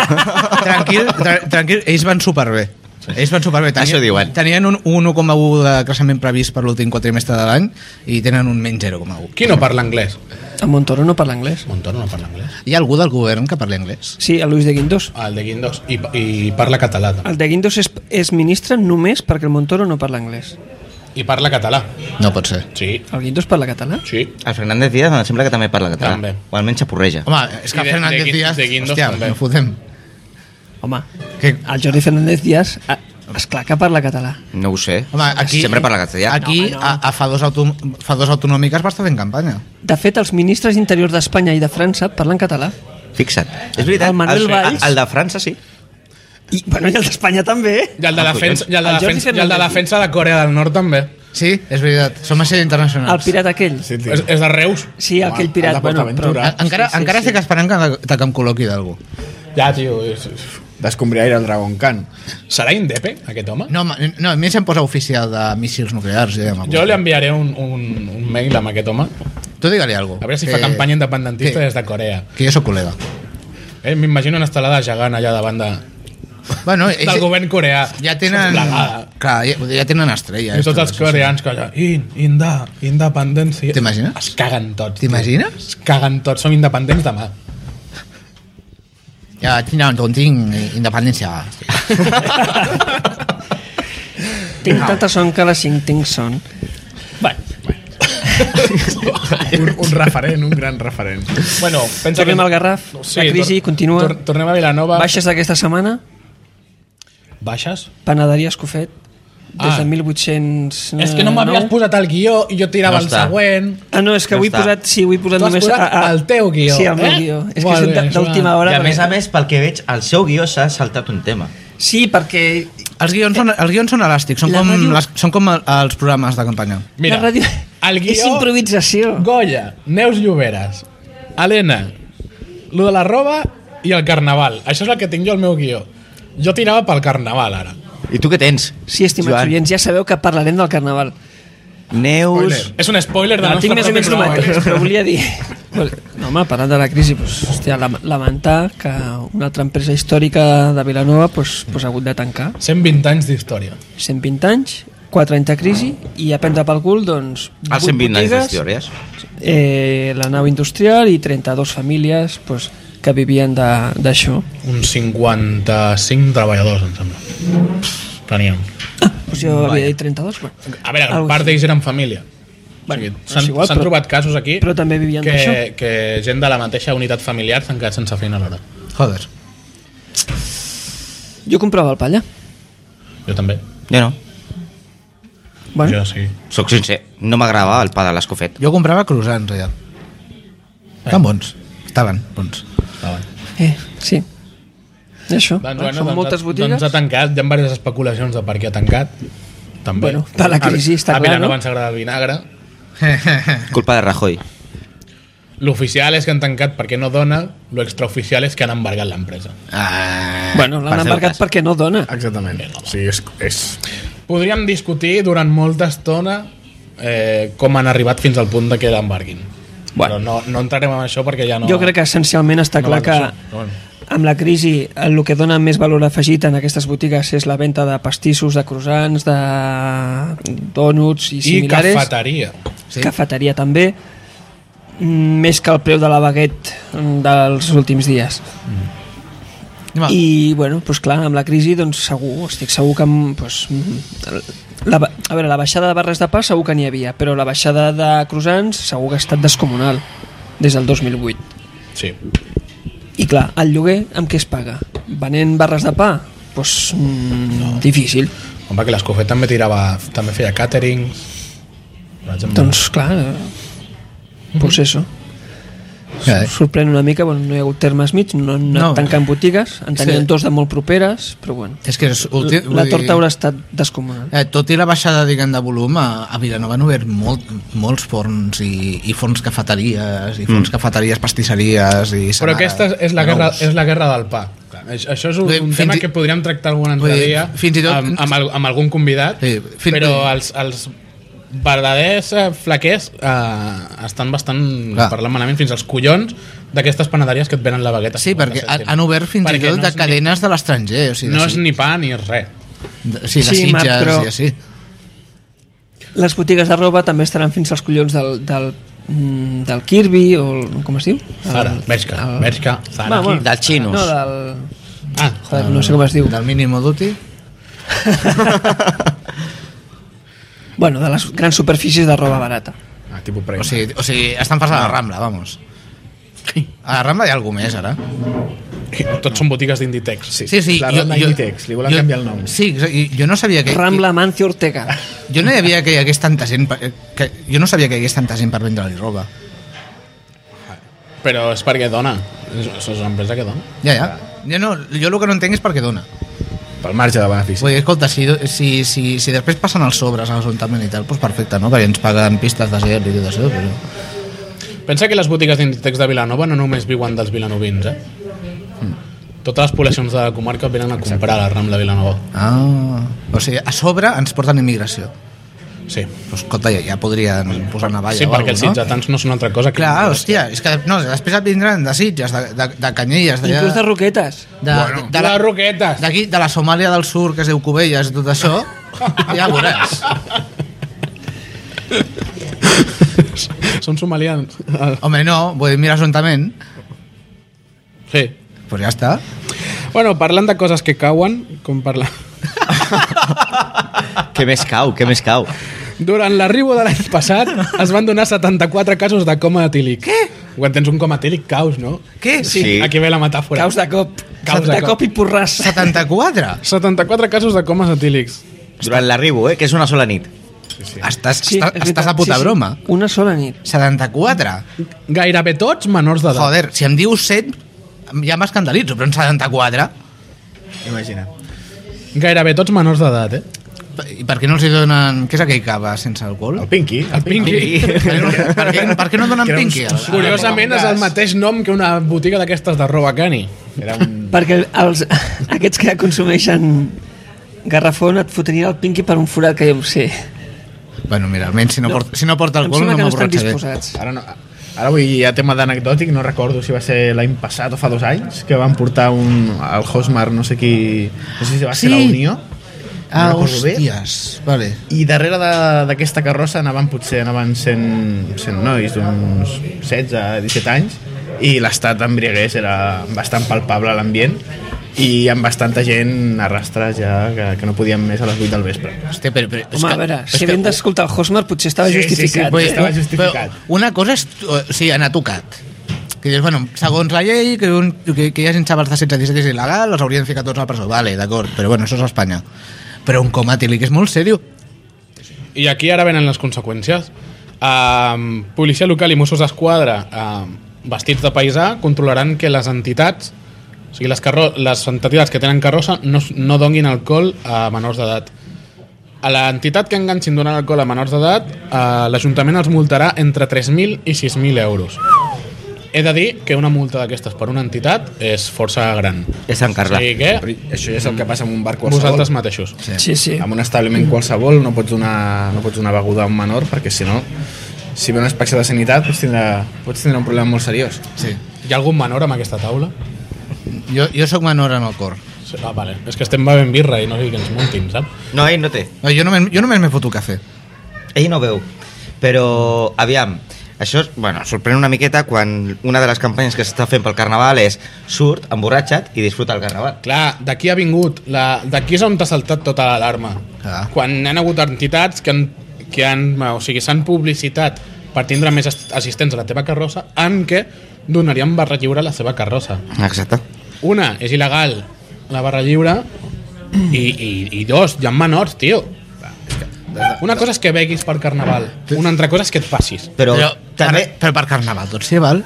tranquil, tra tranquil, ells van superbé. Ells van superbé.
Això diuen.
Tenien un, un 1,1 de creixement previst per l'últim quatrimestre de l'any i tenen un menys 0,1.
Qui no parla anglès?
El Montoro no parla anglès.
Montoro no parla anglès.
Hi ha algú del govern que parli anglès?
Sí, el Luis de Guindos.
Ah, el de Guindos. I, i parla català. també.
El de Guindos és, és ministre només perquè el Montoro no parla anglès.
I parla català.
No pot ser.
Sí,
El Guindos parla català?
sí.
El Fernández Díaz em sembla que també parla català.
També.
O almenys xapurreja.
Home, és que
I de-
Fernández
de Guin-
Díaz...
de Guindos
hòstia,
també.
no fotem.
Home,
Que,
el Jordi Fernández Díaz, ah, esclar que parla català.
No ho sé.
home, aquí...
Sempre parla català.
Aquí,
No, home, no.
a, a fa, dos auto, fa dos autonòmiques va estar fent campanya.
De fet, els ministres d'interior d'Espanya i de França parlen català.
Fixa't. És veritat.
El Ah, Manuel Valls-
El, el de França, sí.
I, bueno, i el d'Espanya també. eh?
I el de
Ah,
la defensa, i el de
El
la
Jordi
defensa, i el de,
Fernández.
la defensa de Corea del Nord també.
Sí, és veritat. Som a ser
El
internacionals.
pirata aquell.
Sí, tio.
És, és de Reus?
Sí,
Home,
aquell
el
pirata.
de Portaventura.
En- Encara, sí, sí, encara sí. estic esperant que, que em col·loqui d'algú.
Ja, tio. És...
D'escombriaire el Dragon Khan.
Serà indepe, aquest home?
No, home, no, a mi se'm posa oficial de míssils nuclears. Ja,
Jo li enviaré un, un, un mail amb aquest home. A
Tu digue-li alguna cosa.
veure si fa campanya
eh.
independentista des de Corea.
Que jo sóc col·lega.
Eh, M'imagino una estelada gegant allà davant de,
Bueno,
del govern coreà.
ja tenen...
Plegada.
Clar, ja, ja tenen estrella.
I tots els
estos.
coreans que allà, in, inda, independència.
T'imagines?
Es caguen tots. tio.
T'imagines?
Es caguen tots, som independents demà.
Ja tenen on tinc independència.
Tinc tanta son que a les 5 tinc son.
Un, un referent, un gran referent.
Bueno, pensa
Tornem al Garraf. La crisi continua.
Tor tornem a Vilanova.
Baixes d'aquesta setmana,
Baixes?
Panaderia Escofet, des
Ah.
de 1800...
És que no m'havies posat el guió i jo tirava
No
el
està.
següent.
Ah, no, és que
Ja
avui he
està.
posat, sí, avui he posat
Tu has
només...
posat el teu guió,
Sí, el meu
eh?
guió. És
Molt
que
bé,
és de- d'última
Joan.
hora.
I a
perquè-
més a més, pel que veig, el seu guió s'ha saltat un tema.
Sí, perquè
Els guions són, els guions són elàstics, són
La
com,
ràdio-
les, són com el- els programes de campanya.
Mira,
la ràdio
el guió...
és improvisació.
Goya, Neus Lloberes, Helena, lo de la roba i el carnaval. Això és el que tinc jo al meu guió. Jo tirava pel carnaval, ara.
I tu què tens?
Sí, estimats
Joan?
oients, ja sabeu que parlarem del carnaval.
Neus...
És un spoiler de
No, tinc més o menys
programa.
només, però volia dir... Bueno, No, home, parlant de la crisi, pues, hòstia, lam- lamentar que una altra empresa històrica de Vilanova pues, pues, ha hagut de tancar.
120 anys d'història.
120 anys, 4 anys de crisi i a prendre pel cul, doncs...
Els 120 Ah,
vuit
anys
botigues,
d'històries.
eh, la nau industrial i 32 famílies pues, que vivien de- d'això.
Uns 55 treballadors, em sembla. Teníem.
Pues jo havia dit 32, bueno.
A veure,
Algo
Algo part d'ells eren família.
Bueno,
Bueno, o
és
sigui, S'han
igual,
s'han
però-
trobat casos aquí
però també vivien
que,
d'això.
que gent de la mateixa unitat familiar s'han quedat sense feina alhora.
Joder.
Jo comprava el palla.
Jo també.
Jo no.
Bueno,
Jo sí.
Soc sincer, no m'agradava el pa de l'escofet.
Jo comprava croissants allà. Tan bons. Estaven bons.
Estaven.
eh, sí. I això,
Doncs,
eh,
bueno,
són
doncs,
moltes
ha-
botigues.
Doncs ha tancat, hi ha diverses especulacions de per què ha tancat. També.
Bueno, per la crisi,
a, a
està clar,
Vilanova
no?
ens agrada el vinagre.
Culpa de Rajoy.
L'oficial és que han tancat perquè no dona, l'extraoficial és que han embargat l'empresa.
Ah.
Bueno, l'han
Per fer-ho
embarcat
cas.
perquè no dona.
Exactament. Sí, és, és...
Eh, Podríem discutir durant molta estona eh, com han arribat fins al punt de que l'embarguin. Bueno. Però no, no entrarem en això perquè ja no...
Jo crec que essencialment està
no
clar
va
que
d'això. Però bueno.
amb la crisi el que dona més valor afegit en aquestes botigues és la venda de pastissos, de croissants, de dònuts i
I
similares.
cafeteria.
sí. cafeteria també mm, més que el preu de la baguette mm, dels últims dies
Mm.
Va.
i bueno, doncs clar, amb la crisi doncs segur, estic segur que amb, doncs, mm, la, ba- a veure, la baixada de barres de pa segur que n'hi havia, però la baixada de croissants segur que ha estat descomunal des del 2008
Sí.
i clar, el lloguer amb què es paga? venent barres de pa? Pues, mm, no. difícil
Home, que l'escofet també tirava... També feia càterings... per exemple.
Doncs clar, eh, pues eso.
Mhm. Ja, eh?
sorprèn una mica, bueno, no hi ha hagut termes mig, no han anat
No.
no. tancant botigues, en tenien
Sí.
sí. dos de molt properes, però bueno.
És que és ulti...
Ulti, la
vull dir-
torta haurà estat descomunal.
Eh, tot i la baixada diguem, de volum, a, a Vilanova han obert molt, molts forns i, i forns cafeteries, i forns mm. cafeteries, pastisseries... I
Però
salades,
aquesta és la, guerra,
nous.
és la guerra del pa. Aix- Això és un,
Vull dir,
un
fins
tema
i-
que podríem tractar algun altre
Vull dir,
dia
fins i tot-
amb, amb, al- amb algun convidat,
Sí, fins-
però els, els verdaders eh, flaquers eh, estan bastant
Clar.
parlant malament fins als collons d'aquestes panaderies que et venen la bagueta.
Sí, perquè
50
han,
cèntims.
han obert fins i
Perquè
tot
no
de
és ni-
cadenes de l'estranger. O sigui,
No
de,
és ni pa ni res.
de, sí, de
Sí,
Sitges
Marc, però-
i així.
Les botigues de roba també estaran fins als collons del, del, mm, del Kirby, o el- com es diu?
Zara,
El-
Bershka,
el-
Bershka, Zara.
Ah, Va, bueno.
Del xinos.
No, del...
Ah,
Joder, no sé com es diu.
Del mínimo duty.
Bueno, de les grans superfícies de roba barata.
Ah, tipus
O
Prime.
sigui, o sigui estan passant a la Rambla, vamos. A la Rambla hi ha algú més, ara.
tots són botigues d'Inditex.
Sí, La Rambla Inditex, li volen
jo-
canviar el nom.
Sí, exa- i jo no sabia que...
Rambla Mancio Ortega.
Jo no hi havia que hi hagués tanta gent... Per, que, jo no sabia que hi hagués tanta gent per vendre-li roba.
Però és perquè dona. És, és una empresa que dona.
Ja, ja. Jo, no, jo el que no entenc és per què dona.
Pel marge de benefici.
Vull dir, escolta, si, si, si, si després passen els sobres a l'Ajuntament i tal, doncs perfecte, no? Que ens paguen pistes de ser i tot això, però...
Pensa que les botigues d'Inditex de Vilanova no només viuen dels vilanovins, eh?
Hmm.
Totes les poblacions de la comarca venen a comprar a la Rambla Vilanova.
Ah, o sigui, a sobre ens porten immigració.
Sí.
Pues, escolta, ja, ja podrien posar una valla
sí,
o
perquè els
Ah, alguna cosa, no?
sitjatans no són altra cosa que...
Clar, hòstia, és que no, després et vindran de Sitges, de, de, de Canyelles, d'allà...
Inclús de roquetes.
de,
Bueno.
la...
de, la-
Les roquetes!
d'aquí, de la Somàlia del Sur, que es diu Cubelles i tot això, ja ho veuràs.
Són somalians.
Home, no, vull dir, mira l'Ajuntament,
Sí.
doncs pues ja està.
Bueno, parlant de coses que cauen, com parla...
Què més cau, què més cau.
Durant l'arribo de l'any passat es van donar 74 casos de coma etílic. Què? Quan tens un coma etílic, caus, no?
Què?
Sí,
Sí.
aquí ve la metàfora.
Caus de cop.
Caus
de,
de
cop.
cop.
i porràs.
74?
74 casos de comes etílics.
Durant l'arribo, eh, que és una sola nit.
Estàs,
Sí, és
estàs,
veritat.
estàs a puta
Sí, sí.
broma.
Una sola nit.
74?
Gairebé tots menors d'edat.
Joder, si em dius 100, ja m'escandalitzo, però en 74?
Imagina.
Gairebé tots menors d'edat, eh?
I per què no els hi donen... Què és aquell cava sense alcohol?
El Pinky.
El Pinky.
Per què, no- per què, per què no donen
Que era un-
pinky?
un-
Curiosament és el mateix nom que una botiga d'aquestes de roba cani.
Era un...
Perquè els, aquests que consumeixen garrafón et fotrien el pinqui per un forat que jo em sé.
Bueno, mira, almenys si no, porta, si no porta
Em
alcohol
sembla
no
que no estan
m'avorratxa bé.
disposats.
Ara no... Ara vull dir, a tema d'anecdòtic, no recordo si va ser l'any passat o fa dos anys, que van portar un, al Hosmar, no sé qui... No sé si va ser
Sí.
la Unió.
Ah,
No recordo bé.
hòsties. Vale.
I darrere de- d'aquesta carrossa anaven potser anaven 100, 100 nois d'uns 16, 17 anys i l'estat d'embriagués era bastant palpable a l'ambient i amb bastanta gent a rastres ja que, que no podíem més a les 8 del vespre.
Hòstia, però, però, és
Home,
que-
a veure,
és
si
que-
havien d'escoltar el Hosmer potser estava
Sí, sí, sí,
justificat.
vull dir, estava
eh?
justificat.
Però una cosa és... O sigui, anar tocat. Que dius, bueno, segons la llei, que, un, que, que hi hagi xavals de 16 a 17 és il·legal, els haurien de ficar tots a la presó. Vale, d'acord, però bueno, això és Espanya. Però un coma etílic és molt sèrio.
I aquí ara venen les conseqüències. Um, policia local i Mossos d'Esquadra um, vestits de paisà controlaran que les entitats o sigui, les, carro les entitats que tenen carrossa no, s- no donguin alcohol a menors d'edat. A l'entitat que enganxin donant alcohol a menors d'edat, eh, l'Ajuntament els multarà entre 3.000 i 6.000 euros. He de dir que una multa d'aquestes per una entitat és força gran.
És Sant
O
Carles.
sigui
Sí.
que,
Però això ja és el que passa en un bar qualsevol.
vosaltres mateixos.
Sí, sí.
en un establiment qualsevol no pots donar, no pots donar beguda a un menor perquè si no, si ve una inspecció de sanitat pots tindre, pots tindre un problema molt seriós.
Sí.
Hi ha algun menor amb aquesta taula?
Jo, jo sóc menor en el cor.
Sí, Ah, vale. És que estem bevent birra i no sé que ens muntin, saps?
No, ell no té.
No, Jo només, jo només me foto cafè.
Ell no veu. Però, aviam, això és, bueno, sorprèn una miqueta quan una de les campanyes que s'està fent pel carnaval és surt, emborratxa't i disfruta el carnaval.
Clar, d'aquí ha vingut, la- d'aquí és on t'ha saltat tota l'alarma.
Clar.
Quan han hagut entitats que han, que han o sigui, s'han publicitat per tindre més as- assistents a la teva carrossa en què donarien barra lliure a la seva carrossa.
Exacte.
Una, és il·legal la barra lliure i, i, i dos, hi ha menors, tio. Una cosa és que beguis per carnaval, una altra cosa és que et passis.
Però,
Però, doncs.
també...
per, però per carnaval tot s'hi val.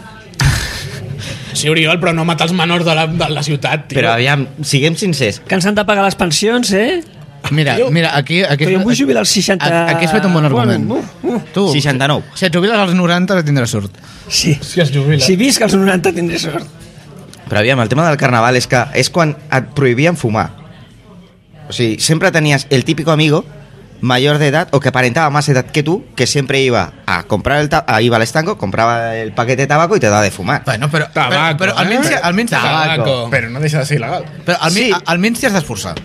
Sí, Oriol, però no matar els menors de la, de la ciutat, tio.
Però aviam, siguem sincers.
Que ens han de pagar les pensions, eh?
Mira,
Tio,
mira, aquí... aquí
però jo em vull jubilar als 60.
a- Aquí has fet un bon argument.
Bueno, uh, uh.
Tu,
69.
Si et jubiles als 90 no tindràs sort.
Sí.
Si es jubila.
Si visc als 90 tindré sort.
Però aviam, el tema del carnaval és que és quan et prohibien fumar. O sigui, sempre tenies el típico amigo mayor de edad o que aparentaba más edad que tú, que siempre iba a comprar el ta- a, iba al estanco, compraba el paquete de tabaco y te daba de fumar.
Bueno, però,
Tabaco,
però, però
eh?
almenys, almenys,
Tabaco.
Però no deixa de ser il·legal.
Però almenys,
Sí.
sí. almenys t'hi has d'esforçar.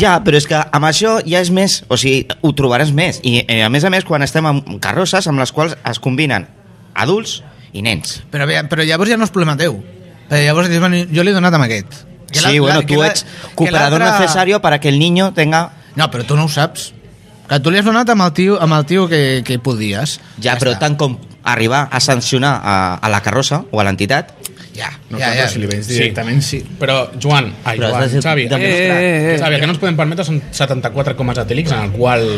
Ja, però és que amb això ja és més, o sigui, ho trobaràs més. I eh, a més a més quan estem en carrosses amb les quals es combinen adults i nens.
Però, bé, però llavors ja no és problema teu. Perquè llavors dius, bueno, jo li he donat amb aquest. Que la-
sí, bueno,
la- que
tu
la-
ets
que
cooperador
l'altre-
necesario para que el niño tenga...
No, però tu no ho saps. Que tu li has donat amb el tio, amb el tio que, que podies.
Ja, però
està.
tant com arribar a sancionar a, a la carrossa o a l'entitat,
Ja,
No,
ja,
clar,
ja.
però si li vens
Sí.
directament, sí.
Però, Joan, ai,
Però
Joan,
has de ser
Xavi,
demostrat.
eh, eh, eh, Xavi, el que no ens podem permetre són 74 comes etílics en el qual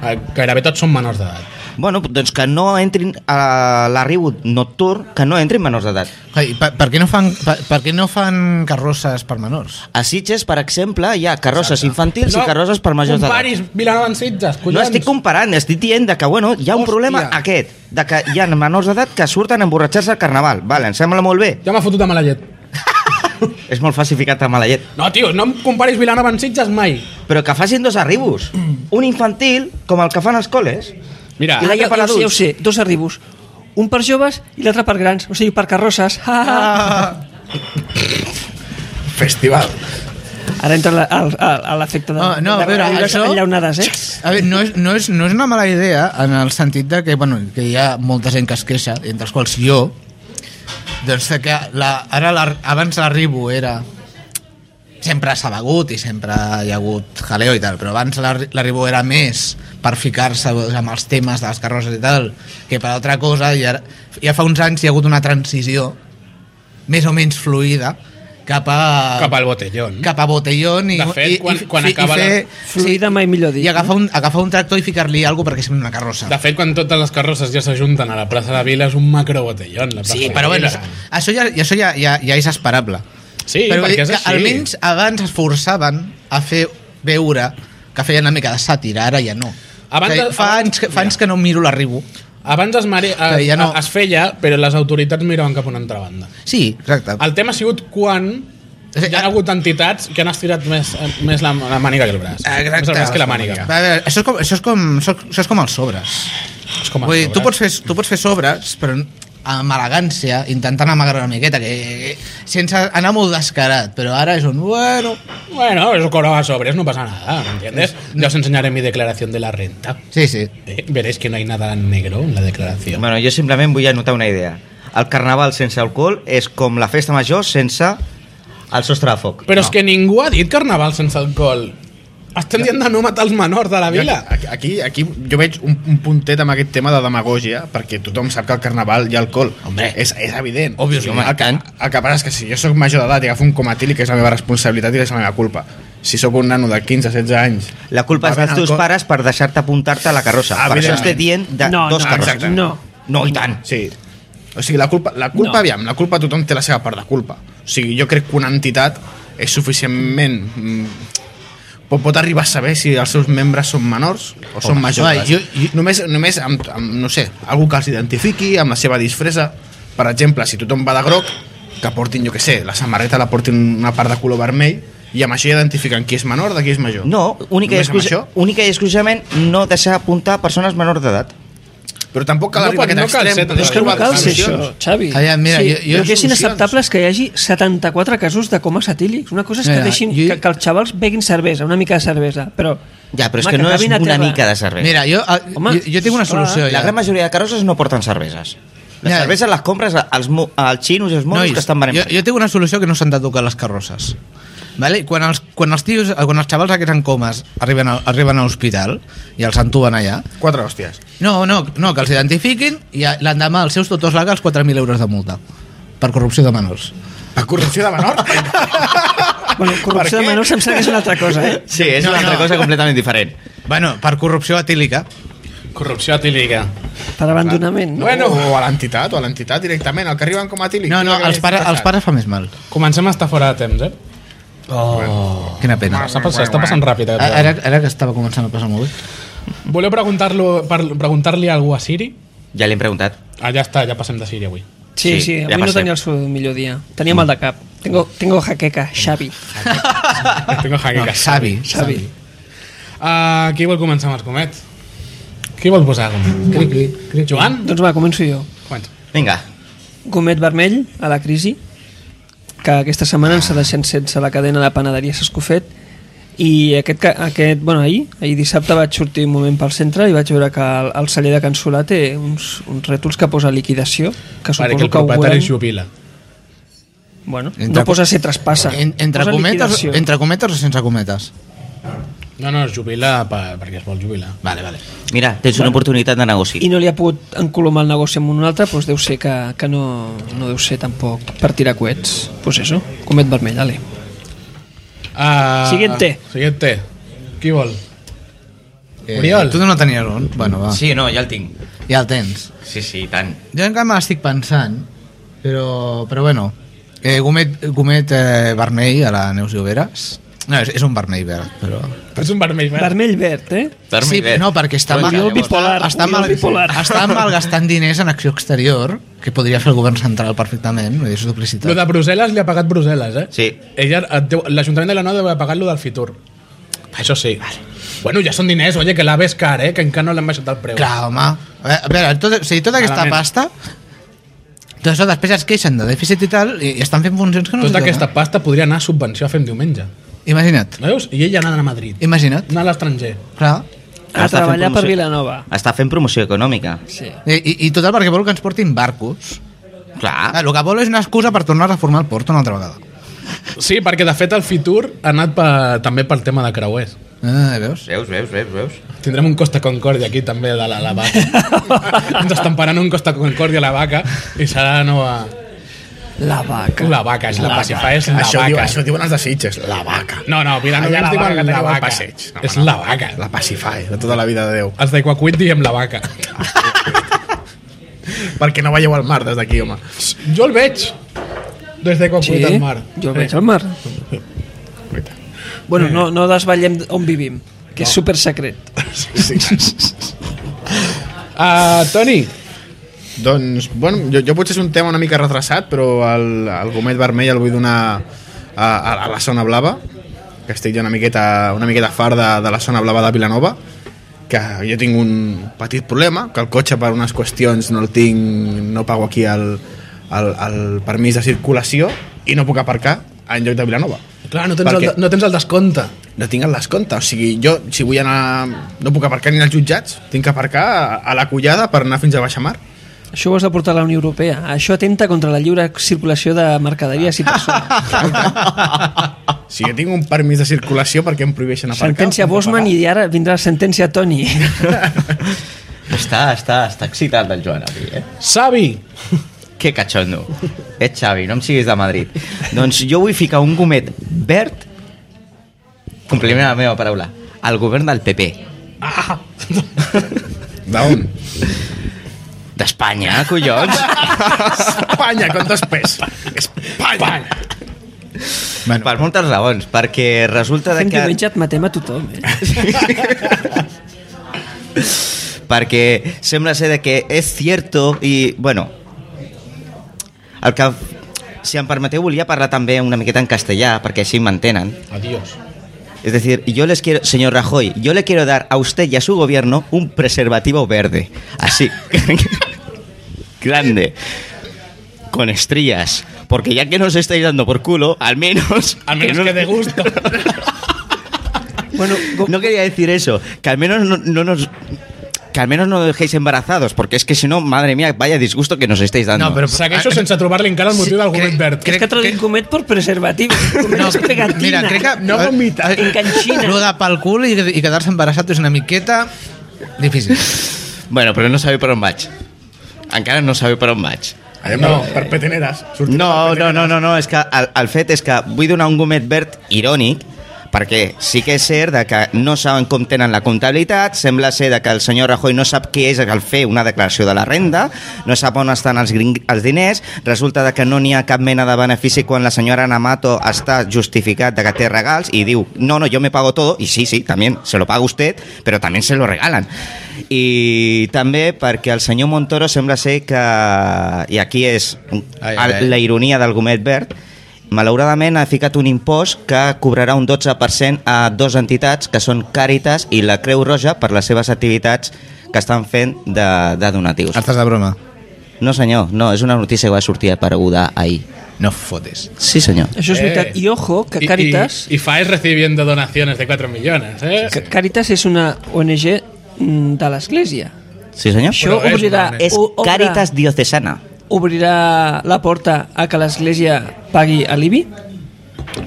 eh, gairebé tots són menors d'edat.
bueno, doncs que no entrin a l'arribut nocturn, que no entrin menors d'edat.
Ai, per, per, què no fan, per, per què no fan carrosses per menors?
A Sitges, per exemple, hi ha carrosses infantils i carrosses per majors d'edat.
Comparis Vilanova en Sitges,
No
collons.
estic comparant, estic dient de que bueno, hi ha un
Hòstia.
problema aquest, de que hi ha menors d'edat que surten a emborratxar-se al carnaval. Vale, em sembla molt bé,
Ja m'ha fotut de mala llet.
és molt fàcil ficar-te a mala llet.
No, tio, no em comparis Vilanova en Sitges mai.
Però que facin dos arribos.
Mm.
Un infantil, com el que fan als col·les.
Mira,
I
Ah,
l'altre
ja,
per
ja, ja ho
adults.
sé, dos arribos. Un per joves i l'altre per grans, o sigui, per carrosses. Ah, ah.
Festival.
Ara entra la- al- al- a l'efecte de,
Ah, no, a
de
veure,
les
això-
enllaunades, eh?
A veure, no és, no, és, no és una mala idea en el sentit de que, bueno, que hi ha molta gent que es queixa, entre els quals jo, doncs de que la, ara la, abans l'arribo era sempre s'ha begut i sempre hi ha hagut jaleo i tal, però abans l'arri- l'arribo era més per ficar-se doncs, amb els temes de les carrosses i tal, que per altra cosa i ara, ja fa uns anys hi ha hagut una transició més o menys fluida cap a,
cap al botellón.
cap a botellón i,
De fet,
i,
quan-
i,
quan
i,
acaba
i
la-
fer,
Fluida mai millor dit,
i agafar un, agafar un tractor i ficar-li alguna perquè sembli una carrossa
De fet, quan totes les carrosses ja s'ajunten a la plaça de Vila, és un macrobotellón. La plaça
sí,
de
però bueno,
Vila.
això, això ja, i això ja, ja, ja és esperable
Sí,
però
perquè
vull dir
és
que
així.
almenys abans es forçaven a fer veure que feien una mica de sàtira, ara ja no
Abans
Que
de-
fa,
abans-
anys, que, fa anys que no miro l'arribo
Abans es, mare...
Que
es,
ja no.
es feia, però les autoritats miraven cap a una altra banda.
sí, exacte
El tema ha sigut quan
O sigui,
hi ha
a-
hagut entitats que han estirat més, eh, més la, la màniga que el braç. Més el braç que la màniga.
A veure, això, és com, això, és com, això això és com els sobres
És com a
Vull dir, tu
sobre.
pots fer, tu pots fer sobres, però amb elegància, intentant amagar una miqueta, que, sense anar molt descarat, però ara és un... Bueno...
Bueno, eso cobraba sobres, no pasa nada, ¿me entiendes? Ya os enseñaré mi declaración de la renta.
Sí, sí.
Eh, Veréis que no hay nada negro en la declaración.
Bueno, jo simplement vull anotar una idea. El carnaval sense alcohol és com la festa major sense el sostre de foc.
Però
no.
és que ningú ha dit carnaval sense alcohol. Estem dient de no matar els menors de la
Jo
vila.
Aquí, aquí, aquí jo veig un, un puntet amb aquest tema de demagògia, perquè tothom sap que al carnaval hi ha alcohol.
Hombre.
És, és evident.
Obviously,
el, que-
tant.
el que passa és que si jo sóc major d'edat i agafo un comatílic és la meva responsabilitat i és la meva culpa. Si sóc un nano de 15-16 anys...
La culpa és dels
bevent
teus
alcohol-
pares per deixar-te apuntar-te a la carrossa.
Ah,
Per això
Evidentment.
estic dient de
no,
dos
no,
carrosses. eh?
exacte.
No.
No, i tant.
Sí. O sigui, la culpa, la culpa
No.
no. aviam, la culpa tothom té la seva part de culpa. O sigui, jo crec que una entitat és suficientment... Mm, pot, pot arribar a saber si els seus membres són menors o són majors.
Ai, jo- jo-
Només, només amb, amb, no sé, algú que els identifiqui, amb la seva disfressa. Per exemple, si tothom va de groc, que portin, jo que sé, la samarreta la portin una part de color vermell i amb això ja identifiquen qui és menor de qui és major.
No, única i,
Només amb
exclusi-
això?
única i exclusivament no deixar apuntar persones menors d'edat.
Però tampoc cal
No
arribar
pot-
a
no
aquest
cal ser
extrem.
tan
Pots
És que no
trobar
cal ser això,
solucions.
Xavi.
Allà, mira, jo- jo-
jo que és
solucions.
inacceptable és que hi hagi 74 casos de comes etílics. Una cosa és que
Mira,
deixin
jo-
que, que els xavals beguin cervesa, una mica de cervesa, però...
Ja, però és
home,
que no és
acabin a
una
terra.
mica de cervesa.
Mira, jo, a,
Home,
jo, jo tinc una
clar.
solució.
La
Ja.
gran majoria de carrosses no porten cerveses. Les
Ja.
cerveses les compres als, mo- als xinos i als monos
Nois,
que estan venent.
jo, jo tinc una solució que no s'han de tocar les carrosses. Vale? Quan, els, quan els tios, quan els xavals aquests en comes arriben a, arriben a l'hospital i els entuben allà,
Quatre hòsties.
no, no, no que els identifiquin i a- l'endemà els seus tutors legals 4.000 euros de multa per corrupció de menors.
La corrupció de menor?
Bueno, corrupció de
Per què?
menors em sembla que és una altra cosa, eh?
Sí, és
No,
una
no.
altra cosa completament diferent.
Bueno, per corrupció etílica.
Corrupció atílica.
Per abandonament. No?
Bueno. O a l'entitat, o a l'entitat directament, el que arriben com a tílic.
No, no,
Mira que
els, pare,
ha
els
passat.
pares fa més mal.
Comencem a estar fora de temps, eh?
Quina pena.
Està passant, està passant ràpid.
A-
aquest
Ara, ara que estava començant a passar molt bé.
programa. Voleu preguntar-lo- per- preguntar-li preguntar a algú a Siri?
Ja l'hem preguntat.
Ah, ja està, ja passem de Siri avui.
Sí,
Sí, sí,
ja
avui no
passem.
tenia el seu millor dia. Tenia mal de cap. Tengo, tengo jaqueca, Xavi.
Tengo
No,
jaqueca.
savi,
Xavi.
savi.
Uh, qui vol començar amb els comets? Qui vol posar gomet?
Cri, cri, cri.
Joan?
Doncs va, començo jo.
Comença.
Vinga,
Gomet vermell a la crisi, que aquesta setmana ens ha deixat sense la cadena de panaderia S'Escofet i aquest, ca- aquest bueno, ahir, ahir dissabte vaig sortir un moment pel centre i vaig veure que el, el celler de Can Solà té uns, uns rètols que posa liquidació que suposo
Perquè el
que ho
propietari
volem...
jubila.
Bueno,
Entre-
no posa ser traspassa.
En, entre,
posa
cometes,
liquidació.
entre cometes o sense cometes?
No, no, es jubila per, perquè es vol jubilar.
Vale, vale.
mira, tens una oportunitat de negoci.
i no li ha pogut encolomar el negoci amb un altre, doncs deu ser que, que no, no deu ser tampoc per tirar coets. Doncs això, comet vermell, ale.
Uh,
Siguiente.
Siguiente. Qui vol?
Eh,
Oriol.
Tu no tenies un? Bueno, va.
Sí, no, ja el tinc.
Ja el tens.
Sí, sí, i tant.
Jo encara me l'estic pensant, però, però bueno. Eh, gomet gomet eh, vermell a la Neus Lloberes. No, és, és un vermell verd, però...
És un vermell, verd.
Vermell verd, eh?
Dormi bé.
no, perquè està,
Oriol
bipolar,
està, mal,
Oriol bipolar.
està malgastant diners en acció exterior, que podria fer el govern central perfectament, és duplicitat.
Lo de Brussel·les li ha pagat Brussel·les, eh?
Sí.
Ella, et deu- l'Ajuntament de la Nova deu haver pagat lo del Fitur. Això sí. Bueno, ja són diners, oye, que l'AVE és car, eh? Que encara no l'han baixat el preu.
Clar, home. Eh, A veure, a veure, tot, o sigui, tota aquesta
Malament.
pasta... Tot això després es queixen de dèficit i tal, i, i estan fent funcions que no
Tota
els
aquesta pasta podria anar a subvenció a fem diumenge.
dona. Imagina't,
No Veus? I ella anant a
Eh.
Madrid.
imagina't.
Anar a l'estranger.
Clar.
A
Ah, Està fent
treballar per
promoció.
Vilanova.
Està fent promoció econòmica.
Sí.
I, i, I total perquè vol que ens portin barcos. Ah,
Clar.
el que vol és una excusa per tornar a reformar el port una altra vegada.
Sí, perquè de fet el Fitur ha anat per, també pel tema de creuers.
Ah, veus?
Veus, veus, veus, veus.
Tindrem un Costa Concòrdia aquí també de la, la vaca. Ens estan parant un Costa Concòrdia a la vaca i serà la nova...
La vaca.
La vaca, és la, la Pacifa és la
això,
vaca.
diu, això diuen els de Sitges, la vaca.
No, no,
Allà
Vilanovins
la
diuen
vaca,
la
la
vaca.
vaca seig. No,
és
no.
la vaca.
La Pacify, de tota la vida de Déu.
Els d'Equacuit diem la vaca.
Perquè no veieu el mar des d'aquí, home.
Jo el veig. Des d'Equacuit
Sí,
sí? al mar. Eh.
jo veig al mar. Bueno, no, no desvetllem on vivim, que és super secret.
Sí, sí.
Uh, Toni,
doncs, bueno, jo, jo potser és un tema una mica retrasat, però el, el gomet vermell el vull donar a, a, a la zona blava, que estic jo una miqueta, una miqueta far de, de la zona blava de Vilanova, que jo tinc un petit problema, que el cotxe per unes qüestions no el tinc, no pago aquí el, el, el permís de circulació i no puc aparcar en lloc de Vilanova.
clar, no tens,
Per
el,
què?
de- no tens el descompte.
no tinc el descompte, o sigui, jo si vull anar, no puc aparcar ni als jutjats tinc que aparcar a, a la collada per anar fins a Baixamar
Això ho has de portar a la Unió Europea. Això atenta contra la lliure circulació de mercaderies i persones.
o sigui, jo tinc un permís de circulació perquè em prohibeixen aparcar
Sentència
Em fa
Bosman
pagar.
i ara vindrà sentència Toni.
Està, està, està excitat el Joan avui, eh?
Xavi,
Que cachondo. Ets Xavi, no em siguis de Madrid. doncs jo vull ficar un gomet verd, compliment a la meva paraula, al govern del PP.
d'on?
D'Espanya, collons.
Espanya, com dos pes Espanya
bueno. Per moltes raons, perquè resulta de
Fem
que...
diumenge et matem a tothom, eh?
perquè sembla ser de que és cierto i, bueno, el que, si em permeteu, volia parlar també una miqueta en castellà, perquè així m'entenen.
adiós.
Es decir, yo les quiero, señor Rajoy, yo le quiero dar a usted y a su gobierno un preservativo verde. Así. Grande. Con estrías. Porque ya que nos estáis dando por culo, al menos.
Al menos
no-
que de gusto.
Bueno, go-
No quería decir eso. Que al menos no, no nos. Que al menos no nos dejéis embarazados, porque es que si no, madre mía, vaya disgusto que nos estáis dando.
No, però-
Segueixo sense trobar-li encara el motiu del gomet verd.
Crec, és que
Crec-
t'ho
crec-
dic comet per preservatiu. Comet és pegatina.
mira, crec que...
No vomita.
Enganxina.
Lo de pel cul i, i quedar-se embarassat és una miqueta difícil.
Bueno, pero no sabe para un match. Encara no sabe para un match.
Anem no.
eh,
per peteneres Sortim
No,
tota
per
no,
peteneres.
no, no, no, és que el, el fet és que vull donar un gomet verd irònic perquè sí que és cert de que no saben com tenen la comptabilitat, sembla ser de que el senyor Rajoy no sap què és el fer una declaració de la renda, no sap on estan els, gring, els diners, resulta de que no n'hi ha cap mena de benefici quan la senyora Namato està justificat de que té regals i diu, no, no, yo me pago todo, i sí, sí, també se lo paga usted, però també se lo regalan. I també perquè el senyor Montoro sembla ser que, i aquí és
Ai, ai, ai.
la ironia del gomet verd, malauradament ha ficat un impost que cobrarà un 12% a dues entitats que són Càritas i la Creu Roja per les seves activitats que estan fent de, de donatius.
Estàs de broma?
No senyor, no, és una notícia que va sortir apareguda ahir.
No fotes.
Sí senyor.
Això és veritat.
Eh.
I ojo, que Càritas...
Y, y, FAES recibiendo donaciones de 4 millones, ¿eh?
C- Càritas és una ONG mm, de l'Església.
Sí senyor.
Ah,
Això
Però és
obrirà,
una
És
o- obre-
Càritas Diocesana.
obrirà la porta a que l'Església pagui a l'IBI?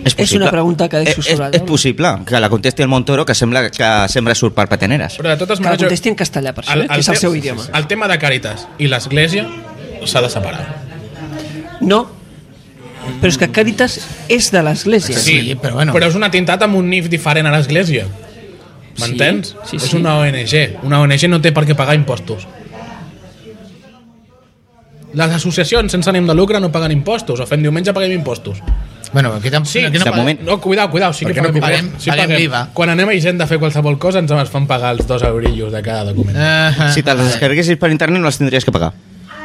És,
És una
possible.
pregunta que deixo
Eh,
sobre la
és, és
taula.
possible que la contesti el Montoro que sembla que sempre surt per pateneres.
Però de totes
Que la
maneres... jo-
contesti en castellà, per això, eh, que és el
te-
seu idioma.
El tema de Càritas i l'Església s'ha de separar.
No, però és que Càritas és de l'Església.
sí, però bueno.
però és un atemptat amb un NIF diferent a l'Església. M'entens?
sí,
és
sí.
una ONG. Una ONG no té per què pagar impostos. Les associacions sense ànim de lucre no paguen impostos. O fem diumenge paguem impostos.
Bueno, aquí tampoc...
Sí,
aquí
de
paguem-
moment.
No, cuidao, cuidao, sí que
Perquè no
paguem,
paguem-
impostos. sí,
paguem IVA.
Quan anem a Hisenda a fer qualsevol cosa ens ens fan pagar els dos eurillos de cada document. Eh.
Eh,
Si te les descarreguessis per internet no les tindries que pagar.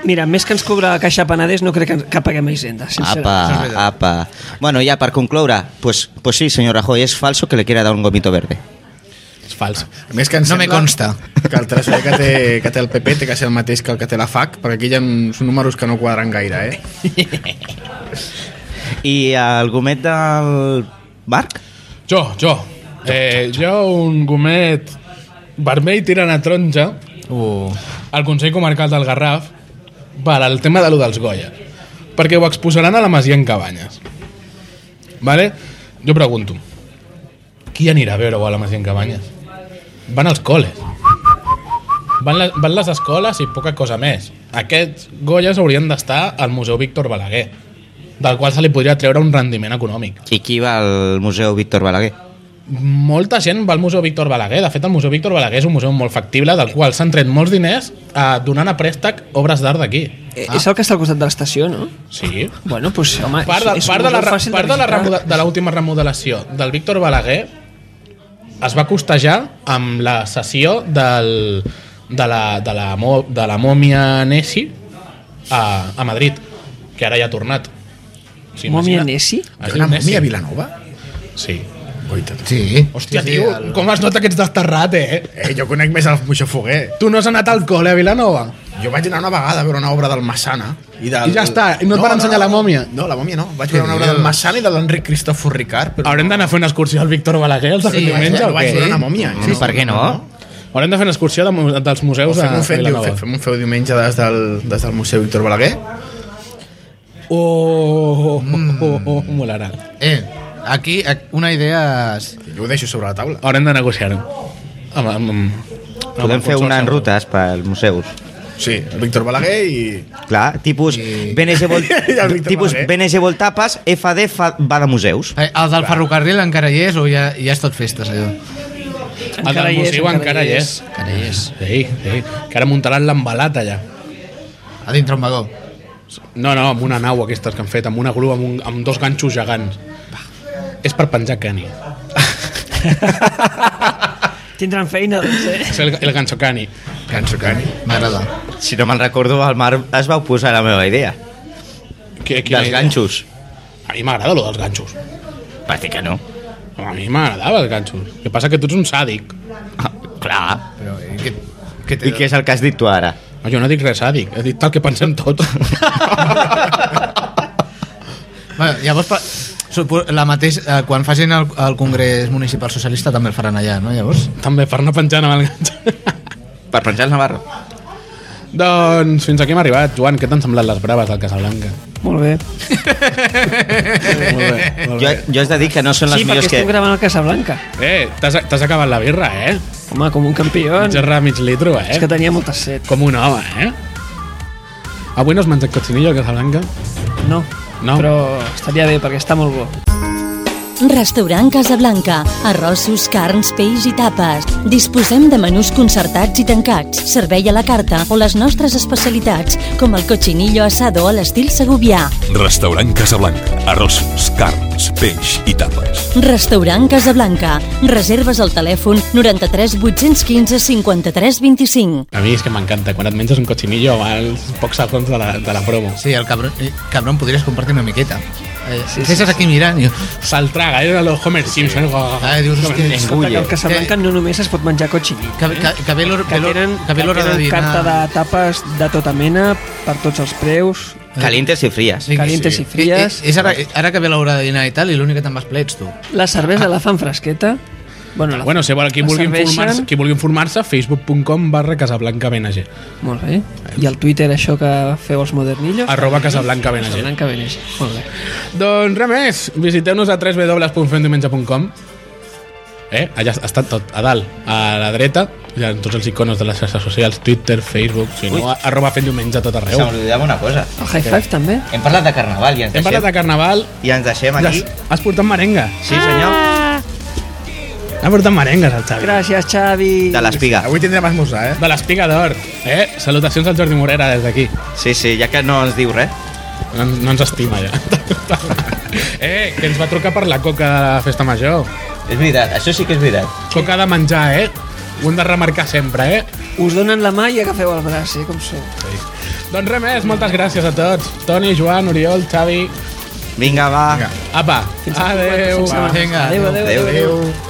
Mira, més que ens cobra la Caixa Penedès, no crec que, que paguem a Hisenda, sincerament.
Apa, apa. Bueno, ya para concloure, pues, pues sí, señor Rajoy, es falso que le quiera dar un gomito verde.
És fals.
A més que em
No me
sembla
consta.
que el tresorer que té, que té el PP té que ser el mateix que el que té la FAC, perquè aquí hi ha uns números que no quadren gaire, eh?
I el gomet del Marc?
Jo, jo. Eh, jo un gomet vermell tirant a taronja
Uh,
al Consell Comarcal del Garraf per al tema de lo dels Goya. Perquè ho exposaran a la Masia en Cabanyes. Vale? Jo pregunto, qui anirà a veure-ho a la Masia en Cabanyes? Van als col·les. Van, la, van les escoles i poca cosa més. Aquests Goyes haurien d'estar al Museu Víctor Balaguer, del qual se li podria treure un rendiment econòmic.
I qui va al Museu Víctor Balaguer?
molta gent va al Museu Víctor Balaguer. De fet, el Museu Víctor Balaguer és un museu molt factible del qual s'han tret molts diners eh, donant a préstec obres d'art d'aquí.
Eh, És el que està al costat de l'estació, no?
Sí.
Bueno, pues, home,
Part de,
Ah. és, és
part de, la,
molt
re-
fàcil
part de la
visitar.
remode- de l'última remodelació del Víctor Balaguer es va costejar amb la sessió del, de, la, de, la, mo- de la mòmia Nessi a, a Madrid, que ara ja ha tornat. Sí,
Mòmia
imagina't.
Nessi?
Es diu
Una
Nessi.
mòmia Vilanova?
Sí.
Guaita.
sí.
Hòstia,
sí, sí,
tio,
el-
com es nota que ets desterrat, eh?
Eh, jo conec més el Moixafoguer.
Tu no has anat al col·le a Vilanova?
Jo vaig anar una vegada a veure una obra del Massana. I, del...
I ja està, i no et van ensenyar la mòmia?
No, la mòmia no. Vaig veure una obra
dius?
del Massana i de l'Enric Cristòfor Ricard. Però
Haurem d'anar a fer una excursió al Víctor Balaguer els sí,
no, vaig,
diumenge
no
o
vaig veure
què?
una mòmia.
Sí, per què no?
Haurem de fer una excursió de, mu- dels
O
museus a,
fem,
a
un feu,
Vilanova.
fem, fem un feu diumenge des del, des del Museu Víctor Balaguer.
Oh, oh, oh, oh, oh, oh, molarà.
Eh, aquí ac- una idea... és-
Jo ho deixo sobre la taula.
Haurem de negociar-ho. Amb, amb, amb, amb el
Podem fer
consorci.
una en rutes pels museus.
Sí, Víctor Balaguer i...
Clar, tipus
I-
BNG, Vol...
I el Víctor
tipus
Balaguer.
BNG Voltapes, FD fa... va de museus.
Eh, El del ferrocarril encara hi és o ja, ja és tot festes, allò?
El del museu encara hi és.
Encara hi és.
Sí, sí. Que ara muntaran l'embalat allà.
A dintre un vagó.
No, no, amb una nau aquestes que han fet, amb una grua, amb, un, amb dos ganxos gegants. És per penjar cani.
Tindran feina, doncs, eh?
És el, el ganxo cani.
Canso Cani.
M'agrada.
Si no me'n recordo, el Marc es va oposar a la meva idea.
Que,
Quina dels
idea.
ganxos.
A mi m'agrada lo dels ganxos.
Per dir que no.
A mi m'agradava els ganxos. El que passa que tu ets un sàdic.
Ah, clar.
Però, eh, què, què té?
I què és el que has dit tu ara?
No, jo no dic res sàdic, he dit tal que pensem tots.
Bueno, llavors, pa- supo, la mateix, eh, quan facin el, el Congrés Municipal Socialista també el faran allà, no? Llavors?
També per anar penjant amb el ganxo.
Per penjar el Navarro.
doncs fins aquí hem arribat. Joan, què t'han semblat les braves del Casablanca?
Molt bé.
Molt bé, molt
Jo,
bé.
jo has de dir que no són les
Sí, perquè
millors que...
estem gravant al Casablanca.
Eh, t'has t'has acabat la birra, eh?
Home, com un campió.
Mig erra, mig litro, eh?
Doncs- És que tenia molta set.
Com un home, eh? Avui no es menja cochinillo al Casablanca?
No,
No.
però estaria bé perquè està molt bo.
Restaurant Casablanca. Arrossos, carns, peix i tapes. Disposem de menús concertats i tancats, servei a la carta o les nostres especialitats, com el cochinillo asado a l'estil segubià.
Restaurant Casablanca. Arrossos, carns, peix i tapes.
Restaurant Casablanca. Reserves al telèfon 93 815 53 25.
A mi és que m'encanta. Quan et menges un cochinillo als pocs segons de la, de la promo.
Sí, el cabrón, eh, cabrón podries compartir una miqueta. Eh, sí, sí, sí. aquí mirant i...
Se'l traga, era el Homer Simpson.
Ah, dius, hòstia,
Homer Simpson.
Ui,
Que al Casablanca no només es pot menjar cochinillo.
Que, que, que ve l'hora
Que
ve l'hora-
tenen,
que ve l'hora de
tenen carta de
dinar.
tapes de tota mena, per tots els preus.
Calientes i fries.
Sí,
calientes i fries.
I, és ara, eh, ara que ve l'hora de dinar i tal, i l'únic que te'n vas plets, tu.
La cervesa la fan fresqueta. Bueno, la,
Bueno, si vol, qui
la
vulgui
serveixen-
informar-se, qui vulgui informar-se facebook.com barra casablanca BNG.
Molt bé. I el Twitter, això que feu els modernillos?
Arroba casablanca BNG.
Casablanca Beneix. Molt bé.
Doncs res més, visiteu-nos a www.fendiumenge.com Eh? Allà està tot, a dalt, a la dreta, hi ha tots els icones de les xarxes socials, Twitter, Facebook, si no, arroba fent diumenge a tot
Se
arreu.
m'oblidava una cosa.
El Oh, high five també?
Hem parlat de carnaval i ens
Hem parlat
deixem,
de carnaval,
i ens deixem
has,
aquí.
has portat merenga.
Sí, senyor.
Ha portat merengues, el Xavi.
Gràcies, Xavi.
De l'espiga.
Avui tindrem esmorzar, eh?
De l'espiga d'or. Eh? Salutacions al Jordi Morera des d'aquí.
Sí, sí, ja que no ens diu res.
No, no ens estima, ja. eh, que ens va trucar per la coca de la festa major.
És veritat, això sí que és veritat.
Coca de menjar, eh? Ho hem de remarcar sempre, eh?
Us donen la mà i agafeu el braç, eh? Com sou.
Doncs res més, moltes gràcies a tots. Toni, Joan, Oriol, Xavi...
Vinga, va.
Vinga.
Apa, adeu.
Adéu, adéu, adéu.
Ah, Adéu,
adéu.
adéu.
Adéu.